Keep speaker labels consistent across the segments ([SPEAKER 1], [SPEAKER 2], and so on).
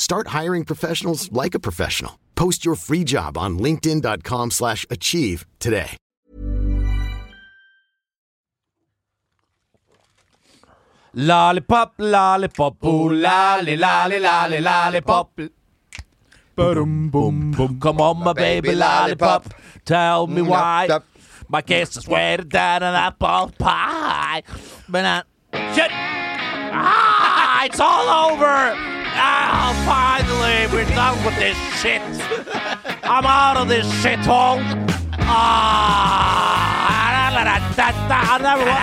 [SPEAKER 1] Start hiring professionals like a professional. Post your free job on linkedin.com slash achieve today.
[SPEAKER 2] Lollipop, lollipop, ooh, lolly, lolly, lolly, lollipop. Boom, boom, boom. Come on, my baby lollipop. Mm, Tell me why. My kiss is wetter than an apple pie. But not. Shit! Ah, it's all over! Ah, finally, we're done with this shit. I'm out of this shithole. Ah, la, la, la, da, da, I never wa-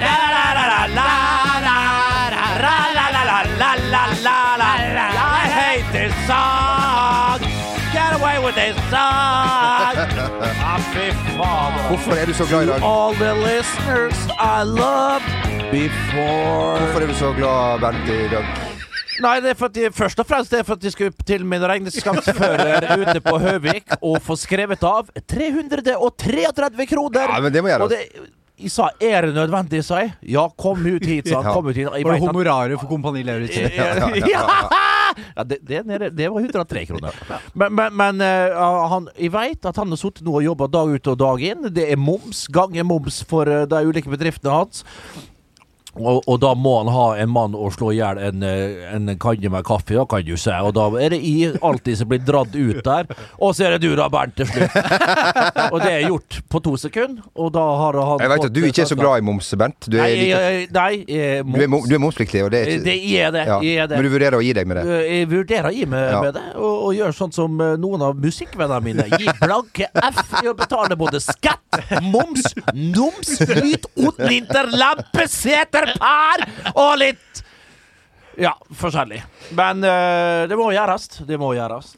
[SPEAKER 2] La, la, la, la, la, la, la, la, la, la, la, la, la, la. I hate this song. Get away with this song. Ah, fy faen.
[SPEAKER 3] Hvorfor er du så glad i dag?
[SPEAKER 2] All the listeners I loved
[SPEAKER 3] Hvorfor
[SPEAKER 2] before
[SPEAKER 3] er du så glad, Bent, i dag?
[SPEAKER 2] Nei, det er for at de, først og fremst det er for at de skulle til min regnskapsfører ute på Høvik og få skrevet av 333 kroner!
[SPEAKER 3] Ja, men det må jeg gjøre.
[SPEAKER 2] Og det, jeg sa 'er det nødvendig', sa jeg. Ja, kom ut hit, sa han.
[SPEAKER 3] Ja.
[SPEAKER 2] Kom ut hit. Jeg
[SPEAKER 4] Var det
[SPEAKER 2] vet at-
[SPEAKER 4] honoraret for Kompani Lauritzen?
[SPEAKER 2] ja, det, det, er nede, det var 103 kroner. Men, men, men eh, han, jeg veit at han har sittet nå og jobba dag ut og dag inn. Det er moms, ganger moms for eh, de ulike bedriftene hans. Og, og da må han ha en mann å slå i hjel en, eh, en kanne med kaffe, da kan du si. Og da er det jeg alltid som blir dratt ut der. Og så er det du da, Bernt, til slutt. og det er gjort på to sekunder. Og da har han
[SPEAKER 3] Jeg vet
[SPEAKER 2] fått, eh,
[SPEAKER 3] at du ikke er så glad i moms, Bent. Du er,
[SPEAKER 2] Nei,
[SPEAKER 3] like,
[SPEAKER 2] jeg- jeg- nei, jeg er
[SPEAKER 3] du er, mom- du er momspliktig, og det er
[SPEAKER 2] Eh,
[SPEAKER 3] ikke
[SPEAKER 2] Det er det.
[SPEAKER 3] ja.
[SPEAKER 2] Jeg er det.
[SPEAKER 3] Men du vurderer å gi deg med det?
[SPEAKER 2] Eh, Jeg vurderer å gi meg
[SPEAKER 3] Ja.
[SPEAKER 2] med det, og, og gjør sånn som eh, noen av musikkvennene mine. Gi blanke F i å betale både skatt, moms, noms, litt otlinter, lampe, seter, par og litt Ja, forskjellig. Men eh, det må gjøres. Det må gjøres.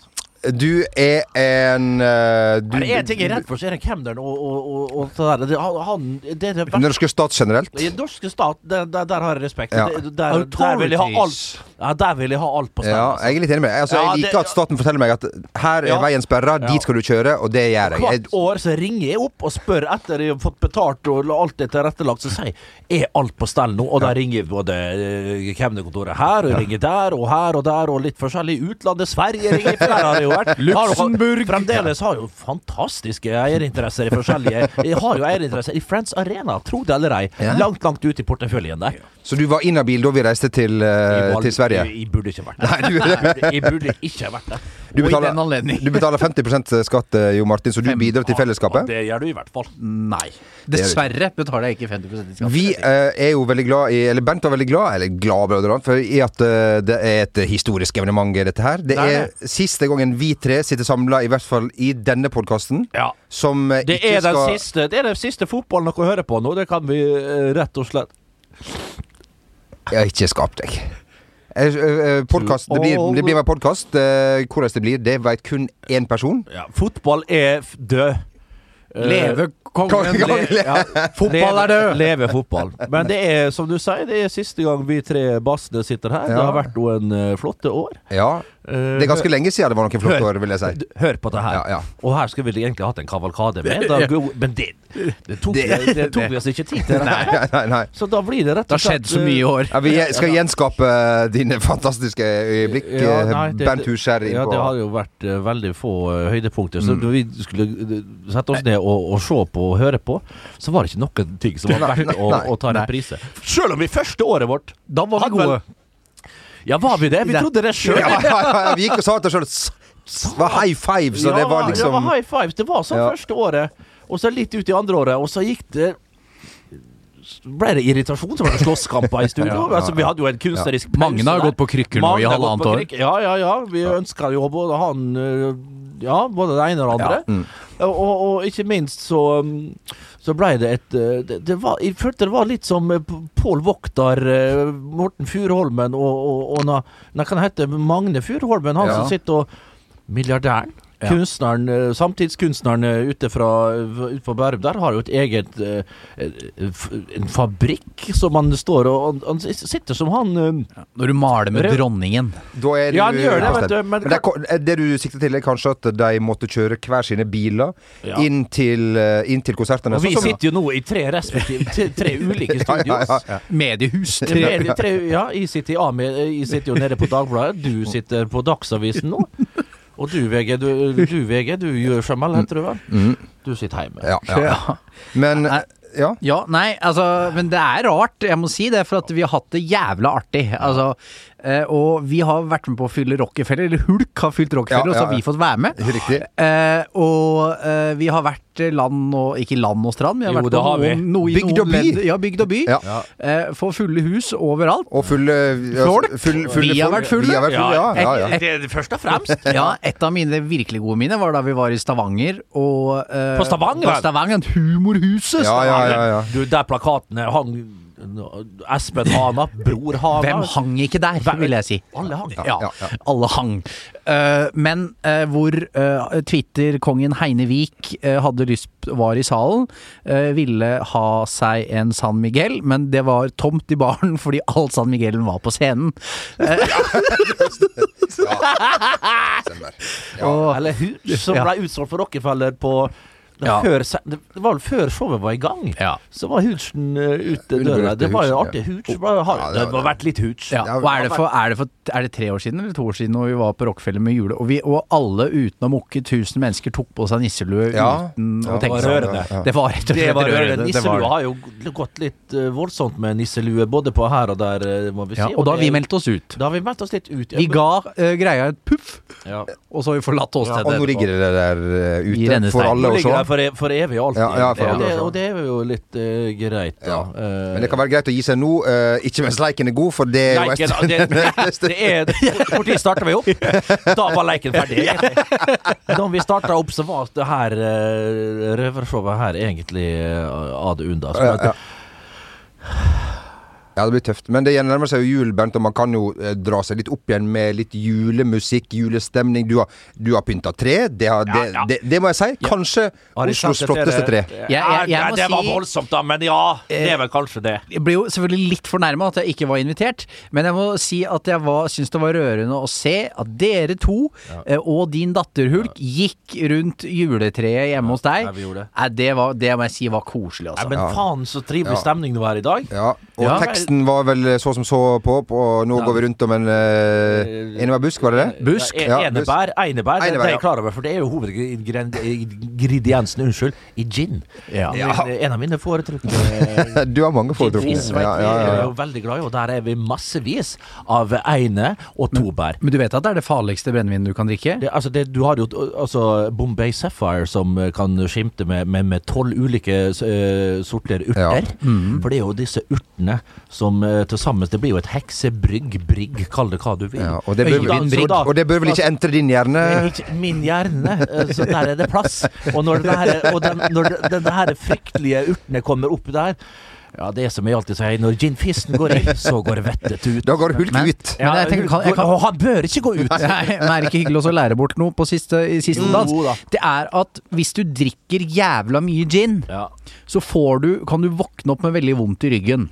[SPEAKER 3] Du er en eh, du,
[SPEAKER 2] Er det én ting jeg er redd for, så er det kemneren og, og, og, og det der. Det, han- han, det er det verste.
[SPEAKER 3] Norske stat generelt?
[SPEAKER 2] I den norske stat, der, der, der har jeg respekt.
[SPEAKER 3] Ja.
[SPEAKER 2] Det- Der, der vil jeg ha alt. Ja, der vil jeg ha alt på stell.
[SPEAKER 3] Ja,
[SPEAKER 2] altså.
[SPEAKER 3] jeg er litt enig med deg. Altså,
[SPEAKER 2] Ja,
[SPEAKER 3] jeg
[SPEAKER 2] det-
[SPEAKER 3] liker at staten forteller meg at her er
[SPEAKER 2] Ja.
[SPEAKER 3] veien sperra,
[SPEAKER 2] Ja.
[SPEAKER 3] dit skal du kjøre, og det gjør jeg.
[SPEAKER 2] Hvert
[SPEAKER 3] jeg
[SPEAKER 2] år så ringer jeg opp og spør etter jeg har fått betalt og alt er tilrettelagt, så sier jeg er alt på stell nå? Og da ringer jeg både eh, kemnerkontoret her, og jeg ringer der, og her og der, og litt forskjellig. Utlandet, Sverige ringer jeg, for der har jeg jo vært. Luxembourg. Fremdeles har jo fantastiske eierinteresser i forskjellige Jeg har jo eierinteresser i Friends Arena, tro det eller ei.
[SPEAKER 3] Ja.
[SPEAKER 2] Langt, langt ut i porteføljen der.
[SPEAKER 3] så du var inhabil da vi reiste til, eh,
[SPEAKER 2] Jeg var-
[SPEAKER 3] til Sverige?
[SPEAKER 2] Jeg, jeg burde ikke vært der.
[SPEAKER 3] Nei, du-
[SPEAKER 2] Jeg burde, jeg burde ikke vært der.
[SPEAKER 3] Du
[SPEAKER 4] Og i
[SPEAKER 3] betaler,
[SPEAKER 4] den anledning.
[SPEAKER 3] du betaler 50 skatt, eh, Jo Martin, så du bidrar
[SPEAKER 2] Ja,
[SPEAKER 3] til fellesskapet.
[SPEAKER 2] Det gjør du i hvert fall.
[SPEAKER 4] Nei. Dessverre betaler jeg ikke 50 i skatt.
[SPEAKER 3] Vi eh, er jo veldig glad i Eller Bent er veldig glad Eller glad blant annet, for i at eh, det er et historisk evenement, dette her. Det
[SPEAKER 2] Nei,
[SPEAKER 3] er siste gangen vi tre sitter samla, i hvert fall i denne podkasten,
[SPEAKER 2] Ja.
[SPEAKER 3] som eh,
[SPEAKER 2] Det
[SPEAKER 3] ikke
[SPEAKER 2] er, den
[SPEAKER 3] skal
[SPEAKER 2] siste, det er den siste fotballen dere hører på nå. Det kan vi eh, rett og slett
[SPEAKER 3] Jeg har ikke skapt deg. Eh, eh, podcast, det, blir,
[SPEAKER 2] all-
[SPEAKER 3] det blir med podkast. Hvordan det blir, det vet kun én person.
[SPEAKER 2] Fotball er f- død. Eh,
[SPEAKER 4] Leve kongen,
[SPEAKER 3] Kongen,
[SPEAKER 4] le- ja. Fotball
[SPEAKER 2] leve-
[SPEAKER 4] er død!
[SPEAKER 2] Leve fotball. Men det er, som du sier, det er siste gang vi tre bassene sitter her. Det
[SPEAKER 3] Ja.
[SPEAKER 2] har vært noen eh, flotte år.
[SPEAKER 3] Ja,
[SPEAKER 2] Eh,
[SPEAKER 3] Det er ganske lenge siden det var noen flotte
[SPEAKER 2] Hør.
[SPEAKER 3] år, vil jeg si.
[SPEAKER 2] d- Hør på det her.
[SPEAKER 3] Ja, ja.
[SPEAKER 2] Og her skulle vi egentlig hatt en kavalkade med. Da, go- men det, det tok,
[SPEAKER 3] Det-
[SPEAKER 2] vi- det tok vi oss ikke tid til. det her.
[SPEAKER 3] Nei, nei, nei.
[SPEAKER 2] Så da blir det rett
[SPEAKER 4] Det
[SPEAKER 2] og
[SPEAKER 4] har
[SPEAKER 2] slett
[SPEAKER 4] skjedd så mye i
[SPEAKER 2] eh,
[SPEAKER 4] år.
[SPEAKER 3] Ja, vi gje- skal gjenskape dine fantastiske øyeblikk, eh,
[SPEAKER 2] Ja, nei, det-
[SPEAKER 3] Bernt Huskjær. Mm.
[SPEAKER 2] Ja, det har jo vært eh, veldig få eh, høydepunkter. Så når vi skulle eh, sette oss ned og, og se på og høre på, så var det ikke noen ting som var verdt å, å ta reprise. Sjøl om vi første året vårt
[SPEAKER 4] Da var vi
[SPEAKER 2] Hadde vel-
[SPEAKER 4] gode.
[SPEAKER 2] Ja, var vi det? Vi
[SPEAKER 4] Ja.
[SPEAKER 2] trodde det sjøl.
[SPEAKER 3] ja, ja, ja, vi gikk og sa til oss sjøl Det var high five, så det var liksom
[SPEAKER 2] high fives. Det var sånn
[SPEAKER 3] Ja.
[SPEAKER 2] første året. Og så litt ut i andre året, og så gikk det ble det irritasjon? Så var det slåsskamper i studio.
[SPEAKER 4] Ja, ja,
[SPEAKER 2] altså, vi hadde jo en kunstnerisk pause
[SPEAKER 4] Magne har
[SPEAKER 2] der.
[SPEAKER 4] gått på krykker nå
[SPEAKER 2] Magne
[SPEAKER 4] i
[SPEAKER 2] har gått
[SPEAKER 4] halvannet
[SPEAKER 2] på
[SPEAKER 4] år.
[SPEAKER 2] krykker. Ja, ja, ja. Vi ønska jo å både ha en øh, Ja, både det ene og det andre.
[SPEAKER 4] mm.
[SPEAKER 2] Og, og, og ikke minst så um, Så blei det et øh, det, det var, Jeg følte det var litt som øh, P- Pål Voktar, øh, Morten Furuholmen og, og, og na, na, Hva heter han? Magne Furuholmen, han
[SPEAKER 3] Ja.
[SPEAKER 2] som sitter og Milliardæren.
[SPEAKER 4] Ja.
[SPEAKER 2] Kunstneren, øh, Samtidskunstneren øh, ute fra øh, ut på Bærum der har jo et eget øh, eh, f- En fabrikk som han står og Han, han sitter som han øh,
[SPEAKER 4] Når du maler med
[SPEAKER 2] Rød-
[SPEAKER 4] dronningen.
[SPEAKER 3] Da er
[SPEAKER 2] Ja,
[SPEAKER 3] du
[SPEAKER 2] han gjør det,
[SPEAKER 3] bestemt.
[SPEAKER 2] vet du, men-
[SPEAKER 3] Men det, er ko- eh, det du sikter til, er kanskje at de måtte kjøre hver sine biler
[SPEAKER 2] Ja.
[SPEAKER 3] inn, til, eh, inn til konsertene.
[SPEAKER 2] Og vi
[SPEAKER 3] Sånn som-
[SPEAKER 2] sitter jo nå i tre respektive tre, tre ulike studios.
[SPEAKER 3] ja,
[SPEAKER 4] Mediehus.
[SPEAKER 2] Tre, tre, ja, jeg sitter i AMI, jeg sitter jo nede på Dagbladet, du sitter på Dagsavisen nå. Og du VG, du, du, VG, du gjør Jamal, heter du vel? Du sitter hjemme.
[SPEAKER 3] Mm, ja, ja. Men
[SPEAKER 4] Nei.
[SPEAKER 3] ja.
[SPEAKER 4] Ja, nei, altså Men det er rart, jeg må si det, for at vi har hatt det jævla artig. Altså, eh, og vi har vært med på å fylle Rockefeller, eller Hulk har fylt Rockefeller,
[SPEAKER 3] Ja,
[SPEAKER 4] og så
[SPEAKER 3] ja,
[SPEAKER 4] har
[SPEAKER 3] ja.
[SPEAKER 4] vi fått være med.
[SPEAKER 3] Riktig.
[SPEAKER 4] Eh, og eh, vi har vært land og Ikke land og strand, vi har
[SPEAKER 2] Jo,
[SPEAKER 4] vært
[SPEAKER 2] det
[SPEAKER 4] på
[SPEAKER 2] har vi.
[SPEAKER 4] noen, noe i
[SPEAKER 3] Bygd og
[SPEAKER 4] noen
[SPEAKER 3] by.
[SPEAKER 4] ledd- Ja, bygd og by.
[SPEAKER 3] Ja.
[SPEAKER 4] Eh, Få fulle hus overalt.
[SPEAKER 3] Og fulle
[SPEAKER 4] Folk?
[SPEAKER 3] altså, full- fulle
[SPEAKER 4] Vi har
[SPEAKER 3] folk.
[SPEAKER 4] vært fulle.
[SPEAKER 3] Vi har vært fulle, ja. ja, ja.
[SPEAKER 2] Det er det først og fremst.
[SPEAKER 4] Ja, et av mine virkelig gode minner var da vi var i Stavanger og eh,
[SPEAKER 2] På Stavanger?
[SPEAKER 4] På Stavanger, Humorhuset!
[SPEAKER 3] Ja, ja, ja, ja.
[SPEAKER 2] Du, der plakatene hang Espen Hana, Bror Hana.
[SPEAKER 4] Hvem hang ikke der,
[SPEAKER 2] Hvem-
[SPEAKER 4] vil jeg si.
[SPEAKER 2] Alle hang.
[SPEAKER 4] Ja,
[SPEAKER 3] ja, ja.
[SPEAKER 4] alle hang. Eh, men eh, hvor eh, Twitter-kongen Heine Vik eh, hadde lyst var i salen, eh, ville ha seg en San Miguel, men det var tomt i baren fordi all San Miguelen var på scenen.
[SPEAKER 2] Ja, Eller hus som
[SPEAKER 4] Ja.
[SPEAKER 2] ble utsolgt for Rockefeller på
[SPEAKER 4] Ja.
[SPEAKER 2] før, se- det var vel før showet var i gang,
[SPEAKER 4] Ja.
[SPEAKER 2] så var Hoochen eh, ute
[SPEAKER 3] Underbrukte
[SPEAKER 2] døra. Det var jo
[SPEAKER 3] Hooch, ja.
[SPEAKER 2] artig. Hooch var- har,
[SPEAKER 3] Ja, det
[SPEAKER 2] det,
[SPEAKER 3] var-
[SPEAKER 2] må ha vært litt Hooch.
[SPEAKER 4] Ja, og er det, for, er, det for, er det tre år siden eller to år siden når vi var på Rockefeller med jule, og, vi, og alle uten å mukke, tusen mennesker tok på seg nisselue
[SPEAKER 3] Ja.
[SPEAKER 4] uten
[SPEAKER 3] Ja,
[SPEAKER 4] å tenke
[SPEAKER 2] det
[SPEAKER 4] seg
[SPEAKER 2] var
[SPEAKER 4] om.
[SPEAKER 2] rørende.
[SPEAKER 4] Det var rett og
[SPEAKER 2] Det
[SPEAKER 4] slett
[SPEAKER 2] var rørende.
[SPEAKER 4] rørende. Det
[SPEAKER 2] Nisselua
[SPEAKER 4] var det.
[SPEAKER 2] har jo g- gått litt eh, voldsomt med nisselue, både på her og der, eh, må vi si.
[SPEAKER 4] Ja, og da har
[SPEAKER 2] det
[SPEAKER 4] vi
[SPEAKER 2] er-
[SPEAKER 4] meldt oss ut.
[SPEAKER 2] da har vi meldt oss litt ut. Ja,
[SPEAKER 4] Vi
[SPEAKER 2] men-
[SPEAKER 4] ga eh, greia et puff,
[SPEAKER 2] ja.
[SPEAKER 4] og så har vi forlatt åstedet.
[SPEAKER 3] Og nå
[SPEAKER 4] etterpå.
[SPEAKER 3] ligger det der eh,
[SPEAKER 4] I
[SPEAKER 3] ute
[SPEAKER 4] rennesteinen.
[SPEAKER 3] for alle
[SPEAKER 2] Nå ligger
[SPEAKER 3] å
[SPEAKER 2] det
[SPEAKER 3] se.
[SPEAKER 2] her for, e for evig og alltid.
[SPEAKER 3] Ja, ja, for
[SPEAKER 2] og,
[SPEAKER 3] alle å
[SPEAKER 2] det,
[SPEAKER 3] se.
[SPEAKER 2] og det er jo litt eh, greit, da.
[SPEAKER 3] Ja.
[SPEAKER 2] Eh,
[SPEAKER 3] Men det kan være greit å gi seg nå, eh, ikke mens leiken er god, for det er jo
[SPEAKER 2] Leiken,
[SPEAKER 3] en
[SPEAKER 2] det, det er Når starta vi opp? Da var leiken ferdig, egentlig. Da vi starta opp, så var det her eh, røvershowet her egentlig eh, ad undas.
[SPEAKER 3] Ja, ja. Ja, det blir tøft. Men det nærmer seg jo jul, Bent, og man kan jo eh, dra seg litt opp igjen med litt julemusikk, julestemning. Du har, du har pynta tre. Det, har, det,
[SPEAKER 2] ja.
[SPEAKER 3] Det, det må jeg si. Kanskje
[SPEAKER 2] Har de
[SPEAKER 3] Oslos
[SPEAKER 2] sett
[SPEAKER 3] flotteste tre.
[SPEAKER 2] eh, Ja, Eh,
[SPEAKER 4] Jeg- jeg- jeg må
[SPEAKER 2] det var
[SPEAKER 4] si-
[SPEAKER 2] voldsomt, da, men ja. Det er vel kanskje det.
[SPEAKER 4] Jeg ble jo selvfølgelig litt fornærma at jeg ikke var invitert, men jeg må si at jeg var- syns det var rørende å se at dere to eh, og din datter Hulk gikk rundt juletreet hjemme hos deg.
[SPEAKER 2] ja, vi gjorde det.
[SPEAKER 4] Nei, det, var, det må jeg si var koselig,
[SPEAKER 2] Nei,
[SPEAKER 4] altså.
[SPEAKER 2] men faen, så trivelig stemning det var i dag.
[SPEAKER 3] Ja, og
[SPEAKER 2] Ja.
[SPEAKER 3] teksten var vel eh, så som så på, opp, og nå går vi rundt om en uh, Enebær busk, var det det?
[SPEAKER 2] Eh, Busk,
[SPEAKER 3] Ja, busk.
[SPEAKER 2] enebær, einebær, det,
[SPEAKER 3] Einebær,
[SPEAKER 2] det er jeg
[SPEAKER 3] ja.
[SPEAKER 2] klar over, for det er jo hovedingrediensen unnskyld, i gin.
[SPEAKER 4] Ja.
[SPEAKER 2] Min- En av mine foretrukne
[SPEAKER 3] Du har mange foretrukne.
[SPEAKER 2] Fizz,
[SPEAKER 3] Ja,
[SPEAKER 2] vet vi,
[SPEAKER 3] ja,
[SPEAKER 2] er
[SPEAKER 3] ja,
[SPEAKER 2] jo veldig glad i, og der er vi massevis av eine og tobær.
[SPEAKER 4] Men du vet at det er det farligste brennevinet du kan drikke?
[SPEAKER 2] Det, altså det, du har jo altså Bombay Sapphire som eh, kan skimte med med- med tolv ulike eh, sorter urter.
[SPEAKER 4] Mm.
[SPEAKER 2] For det er jo disse urtene som eh, til sammen Det blir jo et heksebrygg, brygg, kall det hva du vil.
[SPEAKER 3] ja. Og, det bør,
[SPEAKER 2] Øydan, så da-
[SPEAKER 3] og det bør vel ikke entre din hjerne?
[SPEAKER 2] det er ikke min hjerne, eh, så der er det plass. Og når det her, og den, når det, den her fryktelige urtene kommer opp der Ja, det er som jeg alltid sier, når ginfisten går inn, så går vettet ut.
[SPEAKER 3] Da går Hulk
[SPEAKER 4] Men-
[SPEAKER 3] ut.
[SPEAKER 4] Men jeg tenker, kan, jeg kan,
[SPEAKER 2] Og han bør ikke gå ut!
[SPEAKER 4] Nei, men er det ikke hyggelig også å lære bort noe på siste, i siste
[SPEAKER 2] Jo
[SPEAKER 4] dans?
[SPEAKER 2] da.
[SPEAKER 4] Det er at hvis du drikker jævla mye gin,
[SPEAKER 2] Ja.
[SPEAKER 4] så får du, kan du våkne opp med veldig vondt i ryggen.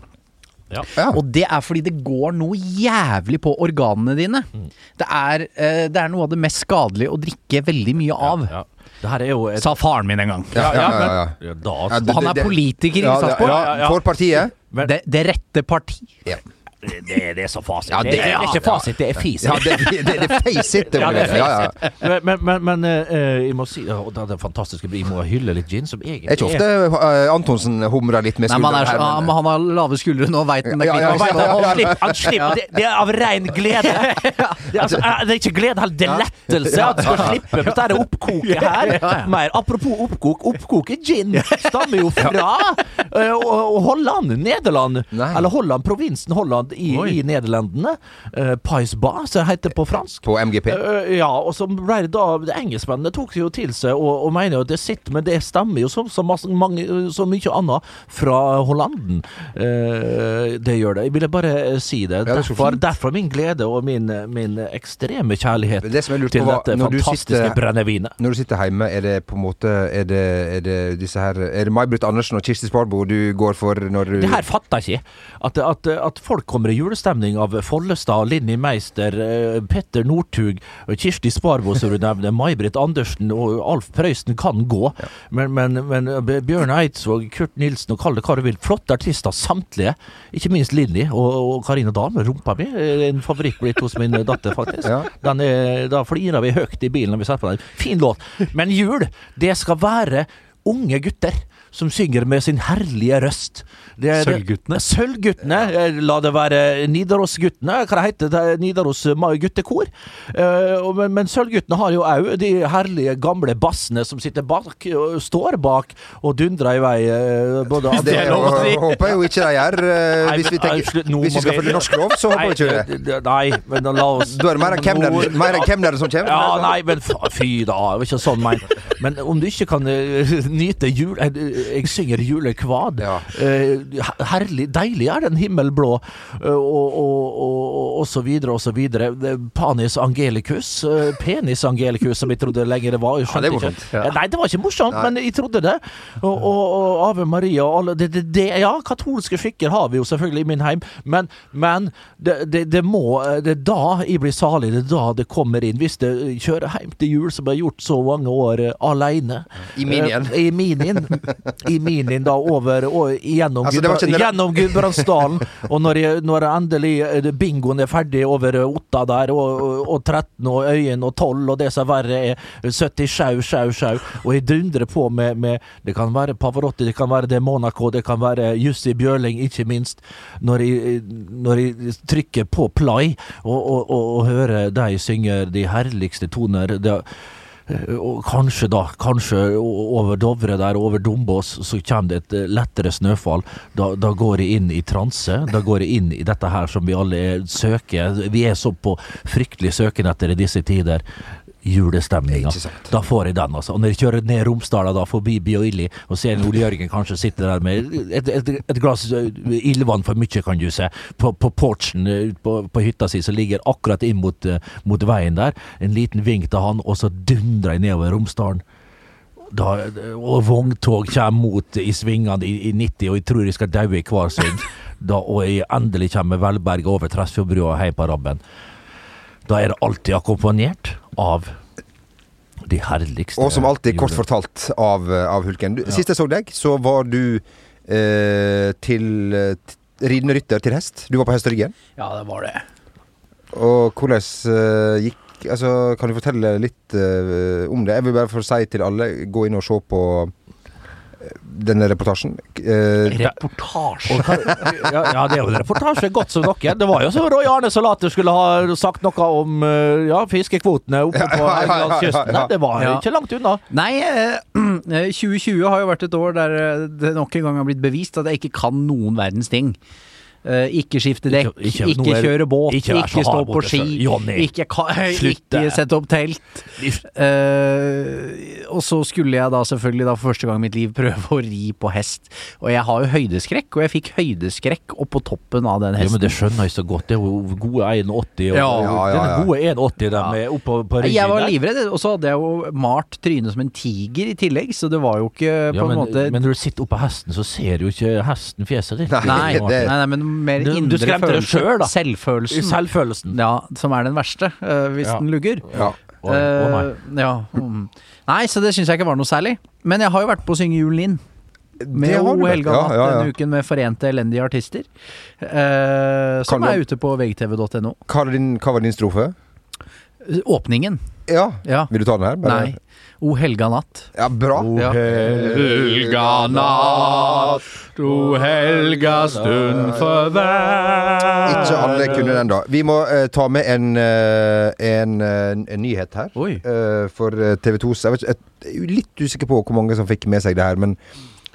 [SPEAKER 3] Ja.
[SPEAKER 4] Og det er fordi det går noe jævlig på organene dine.
[SPEAKER 3] Mm.
[SPEAKER 4] Det, er, eh, det er noe av det mest skadelige å drikke veldig mye av.
[SPEAKER 2] Ja. Det her er jo et
[SPEAKER 4] Sa faren min en gang.
[SPEAKER 3] Ja, ja, ja, ja.
[SPEAKER 2] Ja, da,
[SPEAKER 3] Ja,
[SPEAKER 2] altså.
[SPEAKER 3] det-
[SPEAKER 4] Han er
[SPEAKER 3] det-
[SPEAKER 4] politiker i
[SPEAKER 3] Ja, det-
[SPEAKER 4] Sarpsborg.
[SPEAKER 3] ja, For partiet.
[SPEAKER 4] Det, det rette parti.
[SPEAKER 3] Ja.
[SPEAKER 2] det, det- det er så fasit.
[SPEAKER 3] Ja,
[SPEAKER 2] det,
[SPEAKER 3] det-
[SPEAKER 2] det er ikke
[SPEAKER 3] ja.
[SPEAKER 2] fasit, det er fis.
[SPEAKER 3] Ja, det, det, det, det facet, det
[SPEAKER 2] Ja,
[SPEAKER 3] var
[SPEAKER 2] det er
[SPEAKER 3] det. Ja, ja.
[SPEAKER 2] Men, men, men, men eh, eh, jeg må si og det, det fantastiske blir, jeg må hylle litt gin, som egentlig
[SPEAKER 3] Det er ikke ofte eh, Antonsen humrer litt med
[SPEAKER 4] Nei, men
[SPEAKER 3] skulderen
[SPEAKER 4] han, er, så-
[SPEAKER 3] her.
[SPEAKER 4] han,
[SPEAKER 3] men-
[SPEAKER 4] han har lave skuldre nå, veit han. det
[SPEAKER 3] Ja, ja, ja,
[SPEAKER 4] klikker.
[SPEAKER 2] Vet du,
[SPEAKER 3] ja,
[SPEAKER 2] han slipper, han slipper det, det er av ren glede. Det er, altså, eh, det er ikke glede, heller, det er lettelse. At du skal slippe med dette oppkoket her. Mer apropos oppkok. Oppkoket gin stammer jo fra eh, og- og Holland, Nederland.
[SPEAKER 3] Nei.
[SPEAKER 2] Eller Holland, provinsen Holland i,
[SPEAKER 4] Oi.
[SPEAKER 2] i Nederlandene. Uh, Pais Ba, som det heter på fransk.
[SPEAKER 3] På MGP.
[SPEAKER 2] Eh, ja, og så ble det da det Engelskmennene tok det jo til seg og, og mener jo at det sitter, men det stemmer jo som så, masse- mange, så mye annet fra Hollanden. Eh, det gjør det. Jeg ville bare eh, si det.
[SPEAKER 3] det er så
[SPEAKER 2] derfor,
[SPEAKER 3] fint.
[SPEAKER 2] derfor min glede og min, min ekstreme kjærlighet
[SPEAKER 3] Men det som jeg lurte
[SPEAKER 2] til
[SPEAKER 3] på var,
[SPEAKER 2] dette
[SPEAKER 3] når du
[SPEAKER 2] fantastiske
[SPEAKER 3] sitter-
[SPEAKER 2] brennevinet.
[SPEAKER 3] Når du sitter hjemme, er det på en måte Er det, er det disse her Er det May-Britt Andersen og Kirsti Sparbo du går for når du
[SPEAKER 2] Det her fatter jeg ikke. At, at, at folk kommer i julestemning av Follestad, Linni Meister, eh, Petter Northug, Kirsti Sparbo, som du nevner, May-Britt Andersen og Alf Prøysen kan gå. Men, men, men eh, Bjørn Eidsvåg, Kurt Nilsen og Kalle Karvel, flotte artister samtlige. Ikke minst Linni og, og Karina Dahl med rumpa mi. eh, En favoritt blitt hos min datter, faktisk.
[SPEAKER 3] Ja.
[SPEAKER 2] Den er, da flirer vi høyt i bilen når vi setter på den. Fin låt. Men jul, det skal være unge gutter som synger med sin herlige røst. Det er-
[SPEAKER 4] Sølvguttene.
[SPEAKER 2] Sølvguttene. eh, La det være Nidarosguttene. Hva det heter det? Nidaros eh, ma- guttekor. Eh, og- Men, men Sølvguttene har jo òg de herlige gamle bassene som sitter bak, og står bak og dundrer i vei. eh, Både
[SPEAKER 3] det,
[SPEAKER 2] Adele-
[SPEAKER 4] lov å si.
[SPEAKER 3] håper jeg jo ikke de gjør. eh,
[SPEAKER 2] Nei,
[SPEAKER 3] Hvis vi,
[SPEAKER 2] men,
[SPEAKER 3] tenker,
[SPEAKER 2] eh, slutt, nå
[SPEAKER 3] hvis
[SPEAKER 2] må
[SPEAKER 3] vi skal
[SPEAKER 2] vi-
[SPEAKER 3] følge norsk lov, så håper vi ikke det.
[SPEAKER 2] Nei, eh, Nei, men da la oss
[SPEAKER 3] Da er det mer enn hvem det er- mer enn hvem det er som kommer.
[SPEAKER 2] Ja, nei, men fa- fy da, det var ikke sånn meint. Men om du ikke kan eh, nyte jul Jeg, jeg synger julekvad.
[SPEAKER 3] Ja.
[SPEAKER 2] Eh, her- herlig, deilig er den himmelblå, eh, og, og, og, og, og så videre og så videre. Det- Panis angelicus, eh, penis angelicus, som jeg trodde lenge det var. Jeg
[SPEAKER 3] Ja, det
[SPEAKER 2] skjønte
[SPEAKER 3] er morsomt.
[SPEAKER 2] Ikke. Nei, det var ikke morsomt, men jeg trodde det. Og, og, og Ave Maria og alle det, det, det, Ja, katolske skikker har vi jo selvfølgelig i min heim, men, men det, det, det må eh, Det er da jeg blir salig, det er da det kommer inn. Hvis det eh, kjører hjem til jul, som jeg har gjort så mange år eh, aleine.
[SPEAKER 3] I minien.
[SPEAKER 2] Eh, I minien. I minien, da, over og gjennom,
[SPEAKER 3] Altså, det var
[SPEAKER 2] Gudbra-
[SPEAKER 3] ikke en-
[SPEAKER 2] gjennom Gudbrandsdalen. og når, jeg, når jeg endelig eh, bingoen er ferdig over eh, Otta der, og, og- og 13 og Øyen og 12 og det som verre er, 70 sjau, sjau, sjau, og jeg dundrer på med, med Det kan være Pavarotti, det kan være det Monaco, det kan være Jussi Bjørling, ikke minst. Når jeg, eh, når jeg trykker på play og, og, og, og hører de synger de herligste toner det Eh, og kanskje da, kanskje o- over Dovre der, over Dombås, så kommer det et eh, lettere snøfall. Da, da går jeg inn i transe. Da går jeg inn i dette her som vi alle er- søker. Vi er så på fryktelig søken etter i disse tider. Julestemninga.
[SPEAKER 3] Ikke sant.
[SPEAKER 2] Da får jeg den, altså. Og når jeg kjører ned Romsdala, da forbi Bjørli, og ser Ole Jørgen kanskje sitter der med et, et, et glass eh, ildvann for mye, kan du se, på, på porchen eh, ut på, på hytta si, som ligger akkurat inn mot, eh, mot veien der. En liten vink til han, og så dundrer jeg nedover Romsdalen. Da, og vogntog kommer mot i svingene i, i 90, og jeg tror jeg skal daue i hver sving. Da, og jeg endelig kommer velberget over Tresfjordbrua og hei på rabben. Da er det alltid akkompagnert av de herligste
[SPEAKER 3] Og som alltid, kort
[SPEAKER 2] jule-
[SPEAKER 3] fortalt, av, av Hulken. Du, Sist jeg så deg, så var du eh, til eh, t- ridende rytter til hest. Du var på hesteryggen.
[SPEAKER 4] Ja, det var det.
[SPEAKER 3] Og hvordan eh, gikk Altså, kan du fortelle litt eh, om det? Jeg vil bare få si til alle, gå inn og se på eh, denne reportasjen. Eh,
[SPEAKER 4] Reportasje.
[SPEAKER 2] Og hva- ja, ja, det er jo en reportasje godt som noe. Det var jo som Roy Arne Salater skulle ha sagt noe om eh, ja, fiskekvotene oppe på
[SPEAKER 3] ja, ja, ja, ja.
[SPEAKER 2] Helgelandskysten. Nei, Det var
[SPEAKER 4] Ja.
[SPEAKER 2] ikke langt unna.
[SPEAKER 4] Nei, eh, 2020 har jo vært et år der eh, det nok en gang har blitt bevist at jeg ikke kan noen verdens ting. Eh, Ikke skifte dekk,
[SPEAKER 2] Ikke-
[SPEAKER 4] ikke,
[SPEAKER 2] ikke- nå er-
[SPEAKER 4] kjøre båt,
[SPEAKER 2] ikke
[SPEAKER 4] ikke,
[SPEAKER 2] vær så
[SPEAKER 4] stå
[SPEAKER 2] hard
[SPEAKER 4] på
[SPEAKER 2] mot deg
[SPEAKER 4] ski,
[SPEAKER 2] selv. Johnny,
[SPEAKER 4] ikke, ka-
[SPEAKER 2] slutt
[SPEAKER 4] ikke
[SPEAKER 2] det.
[SPEAKER 4] sette opp telt. Eh, og så skulle jeg da selvfølgelig da for første gang i mitt liv prøve å ri på hest. Og jeg har jo høydeskrekk, og jeg fikk høydeskrekk oppå toppen av den
[SPEAKER 2] Ja, men
[SPEAKER 4] hesten.
[SPEAKER 2] Det skjønner jeg så godt. Det er jo gode 1,80. og-
[SPEAKER 4] Ja.
[SPEAKER 3] Ja, ja, ja.
[SPEAKER 2] Den gode 1,80 der
[SPEAKER 4] Ja.
[SPEAKER 2] med oppe på- på
[SPEAKER 4] jeg var
[SPEAKER 2] der.
[SPEAKER 4] livredd, og så hadde jeg jo malt trynet som en tiger i tillegg, så det var jo ikke
[SPEAKER 2] Ja,
[SPEAKER 4] på
[SPEAKER 2] men,
[SPEAKER 4] en måte
[SPEAKER 2] men når du sitter oppå hesten, så ser du jo ikke hesten fjeset ditt.
[SPEAKER 4] Nei,
[SPEAKER 3] det-
[SPEAKER 4] nei, nei, men mer
[SPEAKER 2] Du- du
[SPEAKER 4] indre
[SPEAKER 2] skremte deg
[SPEAKER 4] følelse.
[SPEAKER 2] selv, da.
[SPEAKER 4] Selvfølelsen.
[SPEAKER 2] Selvfølelsen.
[SPEAKER 4] ja, som er den verste, øh, hvis
[SPEAKER 2] Ja.
[SPEAKER 4] den lugger.
[SPEAKER 3] ja.
[SPEAKER 2] Oi, å nei.
[SPEAKER 4] Eh, ja, mm. Nei, så det syns jeg ikke var noe særlig. Men jeg har jo vært på å synge julen inn. Med
[SPEAKER 3] Det har
[SPEAKER 4] O
[SPEAKER 3] du rett.
[SPEAKER 4] Helga
[SPEAKER 3] Ja,
[SPEAKER 4] Natt
[SPEAKER 3] ja, ja.
[SPEAKER 4] denne uken med Forente elendige artister. eh, som
[SPEAKER 3] Kan du-
[SPEAKER 4] er ute på vgtv.no.
[SPEAKER 3] Hva, er din, hva var din strofe?
[SPEAKER 4] Åpningen.
[SPEAKER 3] Ja.
[SPEAKER 4] Ja.
[SPEAKER 3] Vil du ta den her? Bare-
[SPEAKER 4] Nei. O helga natt.
[SPEAKER 3] Ja, bra.
[SPEAKER 4] Ja.
[SPEAKER 2] Helga natt, o
[SPEAKER 3] Eh,
[SPEAKER 2] helga stund for hver
[SPEAKER 3] Ikke alle kunne den, da. Vi må eh, ta med en, eh, en, eh, en nyhet her.
[SPEAKER 4] Oi.
[SPEAKER 3] Eh, for TV 2s Jeg vet ikke, jeg er jo litt usikker på hvor mange som fikk med seg det her, men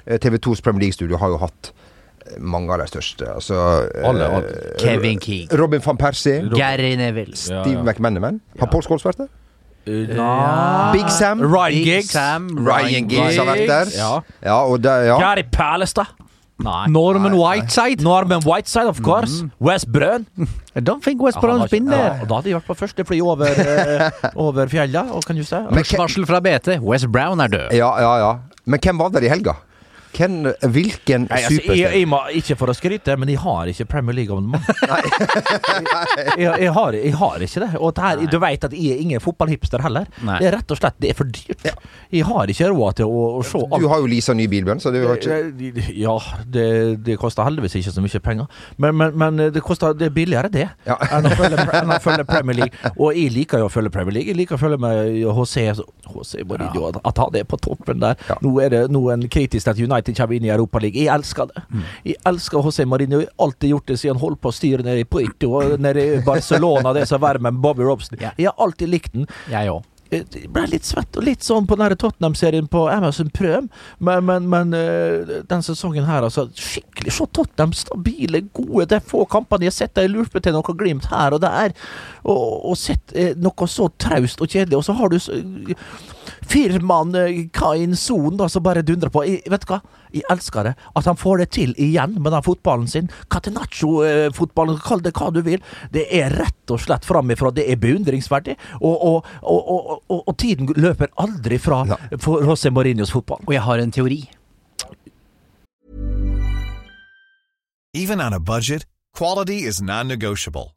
[SPEAKER 3] eh, TV 2s Premier League-studio har jo hatt eh, mange av de største. Altså eh,
[SPEAKER 2] Alle, alle.
[SPEAKER 4] Kevin Keegan.
[SPEAKER 3] Robin van Persie.
[SPEAKER 4] Gary Neville.
[SPEAKER 2] Ja, ja.
[SPEAKER 3] Steve McManaman. Har Pål Skåls vært der?
[SPEAKER 4] Ja.
[SPEAKER 3] Big Sam.
[SPEAKER 2] Ryan
[SPEAKER 4] Big
[SPEAKER 2] Giggs.
[SPEAKER 4] Sam,
[SPEAKER 3] Ryan Giggs har vært der.
[SPEAKER 2] Ja.
[SPEAKER 3] Ja, og der, ja.
[SPEAKER 2] Gary Palestad.
[SPEAKER 4] Nei.
[SPEAKER 2] Norman Whiteside. Norman Whiteside, of course.
[SPEAKER 3] Mm.
[SPEAKER 2] Wes Brøn.
[SPEAKER 4] Mm. I don't think West
[SPEAKER 2] Han har ikke-
[SPEAKER 4] Bromwich been
[SPEAKER 2] Ja,
[SPEAKER 4] there.
[SPEAKER 2] og da hadde de vært på første fly over, eh, over fjella, og kan du se.
[SPEAKER 3] Men ke-
[SPEAKER 4] Varsel fra BT. West Brown er død.
[SPEAKER 3] ja, ja, ja. Men hvem var der i helga? Hvem, hvilken
[SPEAKER 2] Nei, altså, jeg,
[SPEAKER 3] superstjerne
[SPEAKER 2] jeg må, ikke for å skryte, men jeg har ikke Premier League-abonnement. jeg, jeg, har- jeg har ikke det. Og det her, du vet at jeg er ingen fotballhipster heller.
[SPEAKER 4] Nei.
[SPEAKER 2] Det er rett og slett det er for dyrt. Jeg har ikke råd til å, å se alt.
[SPEAKER 3] Du har jo Lisa ny bilbønn, så du har ikke
[SPEAKER 2] Ja, det, det koster heldigvis ikke så mye penger. Men, men, men det, koster, det er billigere, det,
[SPEAKER 3] Ja.
[SPEAKER 2] enn, å følge, enn å følge Premier League. Og jeg liker jo å følge Premier League. Jeg liker å følge med HC så- HC Mourinho, at- at han er på toppen der.
[SPEAKER 3] Ja.
[SPEAKER 2] Nå er det noen kritisk at United kommer inn i Europaligaen. Jeg elsker det.
[SPEAKER 3] Mm.
[SPEAKER 2] Jeg elsker HC Mourinho. Jeg har alltid gjort det siden han holdt på å styre nede i Poito og nede i Barcelona, det som var med Bobby Robson.
[SPEAKER 4] Ja.
[SPEAKER 2] Jeg har alltid likt den.
[SPEAKER 4] Jeg òg.
[SPEAKER 2] Jeg Eh, ble litt svett og litt sånn på den her Tottenham-serien på Amazon Prøm, men, men, men eh, den sesongen her, altså Skikkelig se Tottenham, stabile, gode. Det er få kampene jeg har sett dem lurpe til noe Glimt her og der, og, og sett eh, noe så traust og kjedelig, og så har du så, firmaen eh, Kain Son da, som bare dundrer på. Jeg, vet du hva? Jeg elsker det. At han får det til igjen med den fotballen sin. Catenaccio-fotballen, kall det hva du vil. Det er rett og slett framifrå. Det er beundringsverdig. Og, og, og, og, og, og tiden løper aldri fra
[SPEAKER 3] Nei.
[SPEAKER 2] for José Mourinhos fotball.
[SPEAKER 4] Og jeg har en teori.
[SPEAKER 5] Even on a budget, quality is non-negotiable.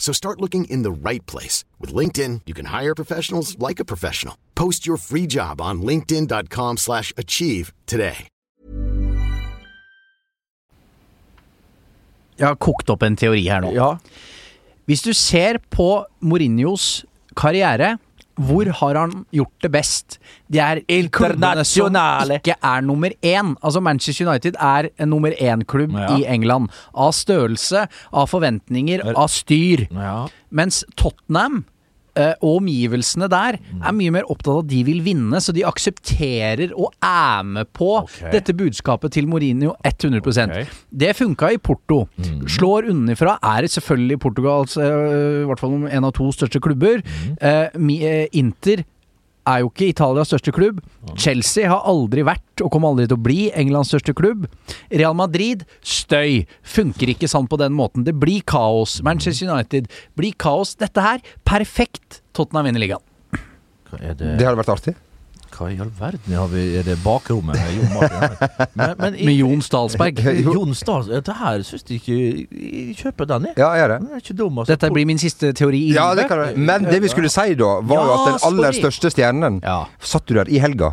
[SPEAKER 1] So start looking in the right place. With LinkedIn, you can hire professionals like a professional. Post your free job on linkedin.com/achieve slash achieve today.
[SPEAKER 4] Jeg har kokt opp en teori her nå.
[SPEAKER 2] Ja.
[SPEAKER 4] Hvis du ser på Mourinhos karriere, hvor har han gjort det best? Det er klubbene som
[SPEAKER 2] Internasjonale.
[SPEAKER 4] ikke er nummer én. Altså Manchester United er en nummer én-klubb
[SPEAKER 2] Ja.
[SPEAKER 4] i England. Av størrelse, av forventninger, av styr.
[SPEAKER 2] Ja.
[SPEAKER 4] Mens Tottenham eh, og omgivelsene der
[SPEAKER 2] Mm.
[SPEAKER 4] er mye mer opptatt av at de vil vinne, så de aksepterer og er med på
[SPEAKER 2] Ok.
[SPEAKER 4] dette budskapet til Mourinho 100
[SPEAKER 2] Ok. Mm.
[SPEAKER 4] Det funka i Porto. Slår unnafra, er det selvfølgelig Portugals eh, i hvert fall en av to største klubber.
[SPEAKER 2] Mm.
[SPEAKER 4] Eh, mi- eh, Inter er jo ikke Italias største klubb. Chelsea har aldri vært, og kommer aldri til å bli, Englands største klubb. Real Madrid støy. Funker ikke sånn på den måten. Det blir kaos. Manchester United blir kaos. Dette her, perfekt. Tottenham vinner ligaen.
[SPEAKER 2] Hva er
[SPEAKER 3] Det hadde vært artig.
[SPEAKER 2] Hva i all verden har vi Er det bakrommet med Jon Martin her? Men, men
[SPEAKER 4] Med Jon Stalsberg.
[SPEAKER 2] Jon Stahls Det her syns jeg ikke Jeg kjøper den, jeg.
[SPEAKER 3] Ja, jeg er det.
[SPEAKER 2] Den er ikke dum, altså.
[SPEAKER 4] Dette blir min siste teori i
[SPEAKER 3] Ja, det
[SPEAKER 4] livet.
[SPEAKER 3] kan det. Men det vi skulle si da, var jo
[SPEAKER 4] Ja,
[SPEAKER 3] at den aller
[SPEAKER 4] sorry.
[SPEAKER 3] største stjernen
[SPEAKER 4] Ja.
[SPEAKER 3] satt du der i helga.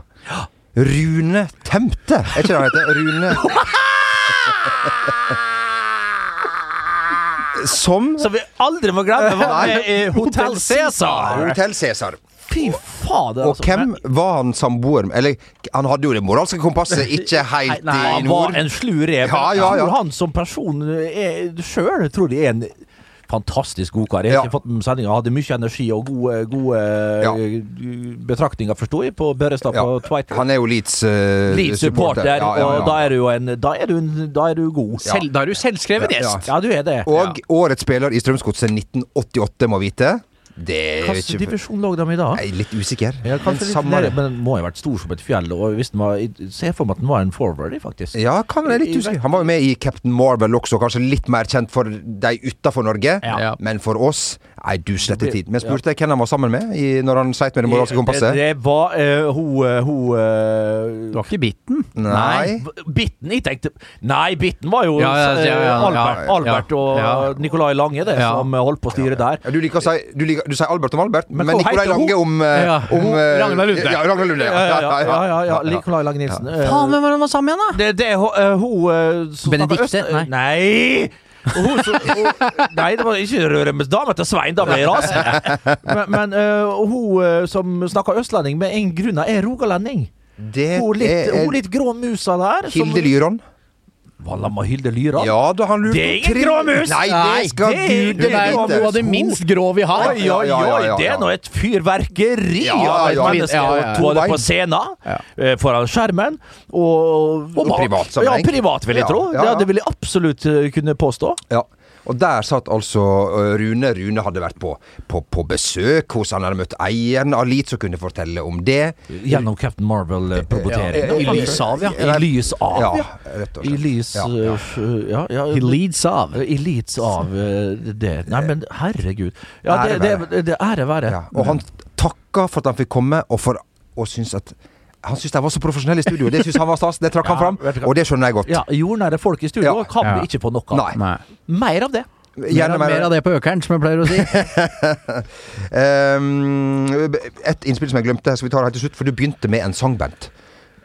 [SPEAKER 3] Rune Temte, er ikke det han heter? Rune Som
[SPEAKER 2] Som vi aldri må glemme, var med i Hotell Cæsar! altså,
[SPEAKER 3] Hotel Cæsar.
[SPEAKER 2] Fy fader,
[SPEAKER 3] Og hvem var han samboer med? Eller, han hadde jo det moralske kompasset ikke
[SPEAKER 2] Nei,
[SPEAKER 3] helt
[SPEAKER 2] nei,
[SPEAKER 3] i
[SPEAKER 2] han var
[SPEAKER 3] nord.
[SPEAKER 2] en slu rev.
[SPEAKER 3] Ja, ja,
[SPEAKER 2] Jeg tror
[SPEAKER 3] ja.
[SPEAKER 2] han som person sjøl tror de er en fantastisk god kar. Jeg har
[SPEAKER 3] Ja.
[SPEAKER 2] ikke fått med sendinga. Hadde mye energi og gode, gode
[SPEAKER 3] Ja.
[SPEAKER 2] eh, betraktninger, forsto jeg, på Børrestad på Tveit.
[SPEAKER 3] Han er jo Leeds uh,
[SPEAKER 2] Leeds supporter, og da er du jo en Da er du, en- da er du god.
[SPEAKER 4] Selv, da er du selvskreven
[SPEAKER 3] Ja, ja.
[SPEAKER 4] gjest!
[SPEAKER 2] Ja, du er det.
[SPEAKER 3] Og årets spiller i Strømsgodset 1988, må vite. Det er jo
[SPEAKER 2] Hvilken
[SPEAKER 3] ikke
[SPEAKER 2] divisjon lå de i da?
[SPEAKER 3] Jeg er litt usikker.
[SPEAKER 2] Ja,
[SPEAKER 3] men
[SPEAKER 2] kanskje litt
[SPEAKER 3] samme
[SPEAKER 2] nede,
[SPEAKER 3] det.
[SPEAKER 2] men den må jo ha vært stor som et fjell. Og hvis den var, i- Se for meg at den var en forward, i, faktisk.
[SPEAKER 3] Ja, kan være litt usikker. Han var jo med i Captain Marvel også, kanskje litt mer kjent for de utafor Norge.
[SPEAKER 4] Ja.
[SPEAKER 3] Men for oss Nei, du sletter tid. Men spurte jeg hvem han var sammen med i, når han sleit med det moralske
[SPEAKER 2] Det,
[SPEAKER 3] kompasset?
[SPEAKER 2] det var eh, hun eh, hun, eh,
[SPEAKER 4] Du har ikke bitten?
[SPEAKER 3] Nei.
[SPEAKER 2] B- Bitten, jeg tenkte Nei, Bitten var jo
[SPEAKER 4] Ja, ja, ja, ja,
[SPEAKER 2] eh,
[SPEAKER 4] ja.
[SPEAKER 2] Albert,
[SPEAKER 4] Ja.
[SPEAKER 2] Albert og
[SPEAKER 4] Ja.
[SPEAKER 2] Nicolai Lange, det,
[SPEAKER 4] Ja.
[SPEAKER 2] som holdt på å styre der.
[SPEAKER 3] Ja, du liker å si du, liker, du sier Albert om Albert, men,
[SPEAKER 2] hva
[SPEAKER 3] Nicolai
[SPEAKER 2] heter hun?
[SPEAKER 3] Lange om, eh,
[SPEAKER 4] Ja,
[SPEAKER 3] om
[SPEAKER 4] hun-
[SPEAKER 3] eh,
[SPEAKER 4] Ragnar Lunde.
[SPEAKER 3] Ja, Ragnar Lunde, ja.
[SPEAKER 2] Ja, ja, ja, ja, ja. Nicolai Lange Nilsen. eh,
[SPEAKER 4] Faen, hvem var det han var sammen med igjen, da?
[SPEAKER 2] Det det er hun eh, hun, eh, som
[SPEAKER 4] Benedikte?
[SPEAKER 2] snakker øst-
[SPEAKER 4] Nei.
[SPEAKER 2] Nei! Og Hun, som- hun, nei, det var ikke Røremes dame til Svein, da ble jeg rasende. Men, men eh, hun eh, som snakker østlending med en grunn, er rogalending.
[SPEAKER 3] Det
[SPEAKER 2] Hun litt,
[SPEAKER 3] er
[SPEAKER 2] hun litt grå musa der. som-
[SPEAKER 3] Hilde Lyron.
[SPEAKER 2] Valla, må Hilde Lyra?
[SPEAKER 3] Ja, da han lurte
[SPEAKER 2] Det er ingen
[SPEAKER 3] tre-
[SPEAKER 2] gråmus!
[SPEAKER 3] Nei,
[SPEAKER 2] Nei,
[SPEAKER 3] det skal
[SPEAKER 2] det-
[SPEAKER 3] du
[SPEAKER 4] Det er jo
[SPEAKER 3] vite.
[SPEAKER 4] noe av det minst grå vi har.
[SPEAKER 2] Oi, oi,
[SPEAKER 3] Ja, ja,
[SPEAKER 2] oi,
[SPEAKER 3] ja, ja,
[SPEAKER 2] det er
[SPEAKER 3] ja.
[SPEAKER 2] nå et fyrverkeri
[SPEAKER 3] Ja,
[SPEAKER 2] av et
[SPEAKER 3] ja, ja.
[SPEAKER 2] menneske.
[SPEAKER 4] Ja, ja, ja.
[SPEAKER 2] Både
[SPEAKER 3] To
[SPEAKER 2] på
[SPEAKER 3] bein.
[SPEAKER 2] scenen, eh, foran skjermen og,
[SPEAKER 3] Og
[SPEAKER 2] bak.
[SPEAKER 3] privat sammenheng.
[SPEAKER 2] Ja, privat, vil jeg
[SPEAKER 3] Ja,
[SPEAKER 2] tro.
[SPEAKER 3] ja, ja.
[SPEAKER 2] Det, det vil jeg absolutt eh, kunne påstå.
[SPEAKER 3] Ja. Og der satt altså ø, Rune. Rune hadde vært på, på, på besøk hos han hadde møtt eieren av Leeds og kunne fortelle om det.
[SPEAKER 2] Gjennom Captain Marvel-proboteringen.
[SPEAKER 4] eh, I lys av, ja.
[SPEAKER 2] eh, I lys av,
[SPEAKER 3] Ja,
[SPEAKER 2] ja.
[SPEAKER 3] rett og
[SPEAKER 2] I
[SPEAKER 3] slett.
[SPEAKER 2] lys
[SPEAKER 3] Ja,
[SPEAKER 2] eh,
[SPEAKER 3] ja.
[SPEAKER 2] f- ja, ja.
[SPEAKER 4] He leads av.
[SPEAKER 2] I lys av eh, det. Nei, men herregud. Ja, det,
[SPEAKER 3] Ære
[SPEAKER 2] det,
[SPEAKER 3] være.
[SPEAKER 2] det, ære være.
[SPEAKER 3] Ja. Og han takka for at han fikk komme, og for og syns at han syntes de var så profesjonelle i studio. Det syns han var stas, det trakk
[SPEAKER 2] Ja,
[SPEAKER 3] han
[SPEAKER 2] vet du
[SPEAKER 3] fram.
[SPEAKER 2] hva.
[SPEAKER 3] Og det skjønner jeg godt.
[SPEAKER 2] Ja, jordnære folk i studio
[SPEAKER 3] Ja.
[SPEAKER 2] kan
[SPEAKER 4] Ja.
[SPEAKER 2] vi ikke få nok av.
[SPEAKER 3] Nei.
[SPEAKER 4] Nei.
[SPEAKER 2] Mer av det.
[SPEAKER 4] Mer,
[SPEAKER 3] Gjerne mer.
[SPEAKER 4] mer av det på økeren, som jeg pleier å si.
[SPEAKER 3] Ehm, et innspill som jeg glemte, her skal vi ta det helt til slutt, for du begynte med en sang, Bent.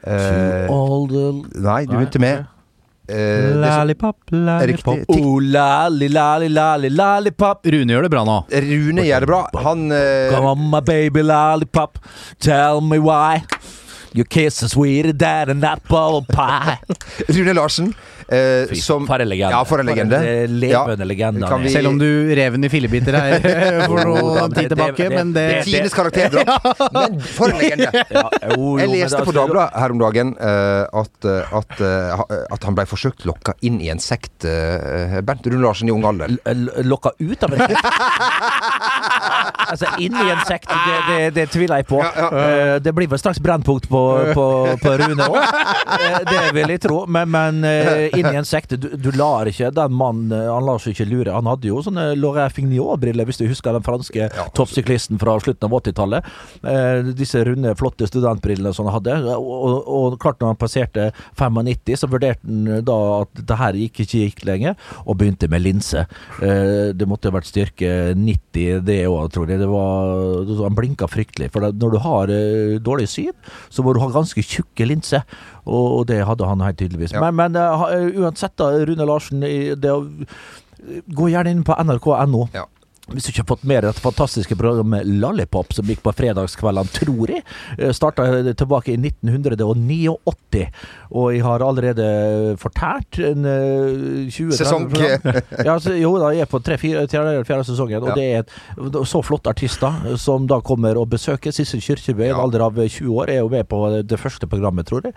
[SPEAKER 3] Eh,
[SPEAKER 2] All the
[SPEAKER 3] nei, du begynte med eh, det som-
[SPEAKER 4] Lollipop, lollipop.
[SPEAKER 3] Riktig. Tikk.
[SPEAKER 2] Oh, lali, lali, lali, lollipop.
[SPEAKER 4] Rune gjør det bra nå.
[SPEAKER 3] Rune gjør det bra. Han eh,
[SPEAKER 2] Come on, my baby lollipop. Tell me why. Your kiss is sweeter than an apple pie.
[SPEAKER 3] Rune Larsen eh, som
[SPEAKER 2] for en legende.
[SPEAKER 3] Ja, for en legende.
[SPEAKER 2] For en levende legende
[SPEAKER 3] Kan
[SPEAKER 2] han er.
[SPEAKER 3] vi-
[SPEAKER 4] Selv om du rev den i fillebiter her for
[SPEAKER 2] Ja,
[SPEAKER 4] noen
[SPEAKER 2] men
[SPEAKER 4] tid
[SPEAKER 2] det-
[SPEAKER 4] tilbake,
[SPEAKER 2] det-
[SPEAKER 4] men det
[SPEAKER 2] det-
[SPEAKER 3] Tines karakterdrap. Men for en legende!
[SPEAKER 2] Ja, jo, jo,
[SPEAKER 3] Jeg
[SPEAKER 2] men
[SPEAKER 3] leste
[SPEAKER 2] altså,
[SPEAKER 3] på Dagbladet her om dagen eh, at, eh, at, eh, ha- at han blei forsøkt lokka inn i en sekt, eh, Bernt Rune Larsen, i ung alder.
[SPEAKER 2] l- l- Lokka ut av en sekt. altså, inni en sekt, det, det, det tviler jeg på. Eh, det blir vel straks brennpunkt på, på, på Rune òg. det vil jeg tro. Men, men eh, inni en sekt du, du lar ikke den mannen eh, Han lar seg ikke lure. Han hadde jo sånne Lauret Fignon-briller, hvis du husker den franske toppsyklisten fra slutten av 80-tallet. Eh, disse runde, flotte studentbrillene som han hadde. Og, og, og klart, når han passerte 95, så vurderte han eh, da at det her gikk ikke gikk lenger, og begynte med linse. Eh, det måtte ha vært styrke 90 det òg, tror jeg. Det var, han blinka fryktelig. For det, når du har eh, dårlig syn, så må du ha ganske tjukke linser. Og, og det hadde han helt tydeligvis.
[SPEAKER 3] Ja.
[SPEAKER 2] Men, men eh, ha- eh, uansett, da, Rune Larsen. i- Det, å- gå gjerne inn på nrk.no.
[SPEAKER 3] Ja.
[SPEAKER 2] Hvis du ikke har fått med deg dette fantastiske programmet Lollipop, som gikk på fredagskveldene, tror jeg, starta tilbake i 1989. Og jeg har allerede fortært en eh, 20
[SPEAKER 3] Sesong.
[SPEAKER 2] 30 program. ja, så, jo da, jeg er på tre- fire- tredje eller fjerde sesongen, og
[SPEAKER 3] Ja.
[SPEAKER 2] det er et, så flotte artister som da kommer og besøker. Sissel Kyrkjebø, i en
[SPEAKER 3] Ja.
[SPEAKER 2] alder av 20 år, er jo med på eh, det første programmet, tror jeg.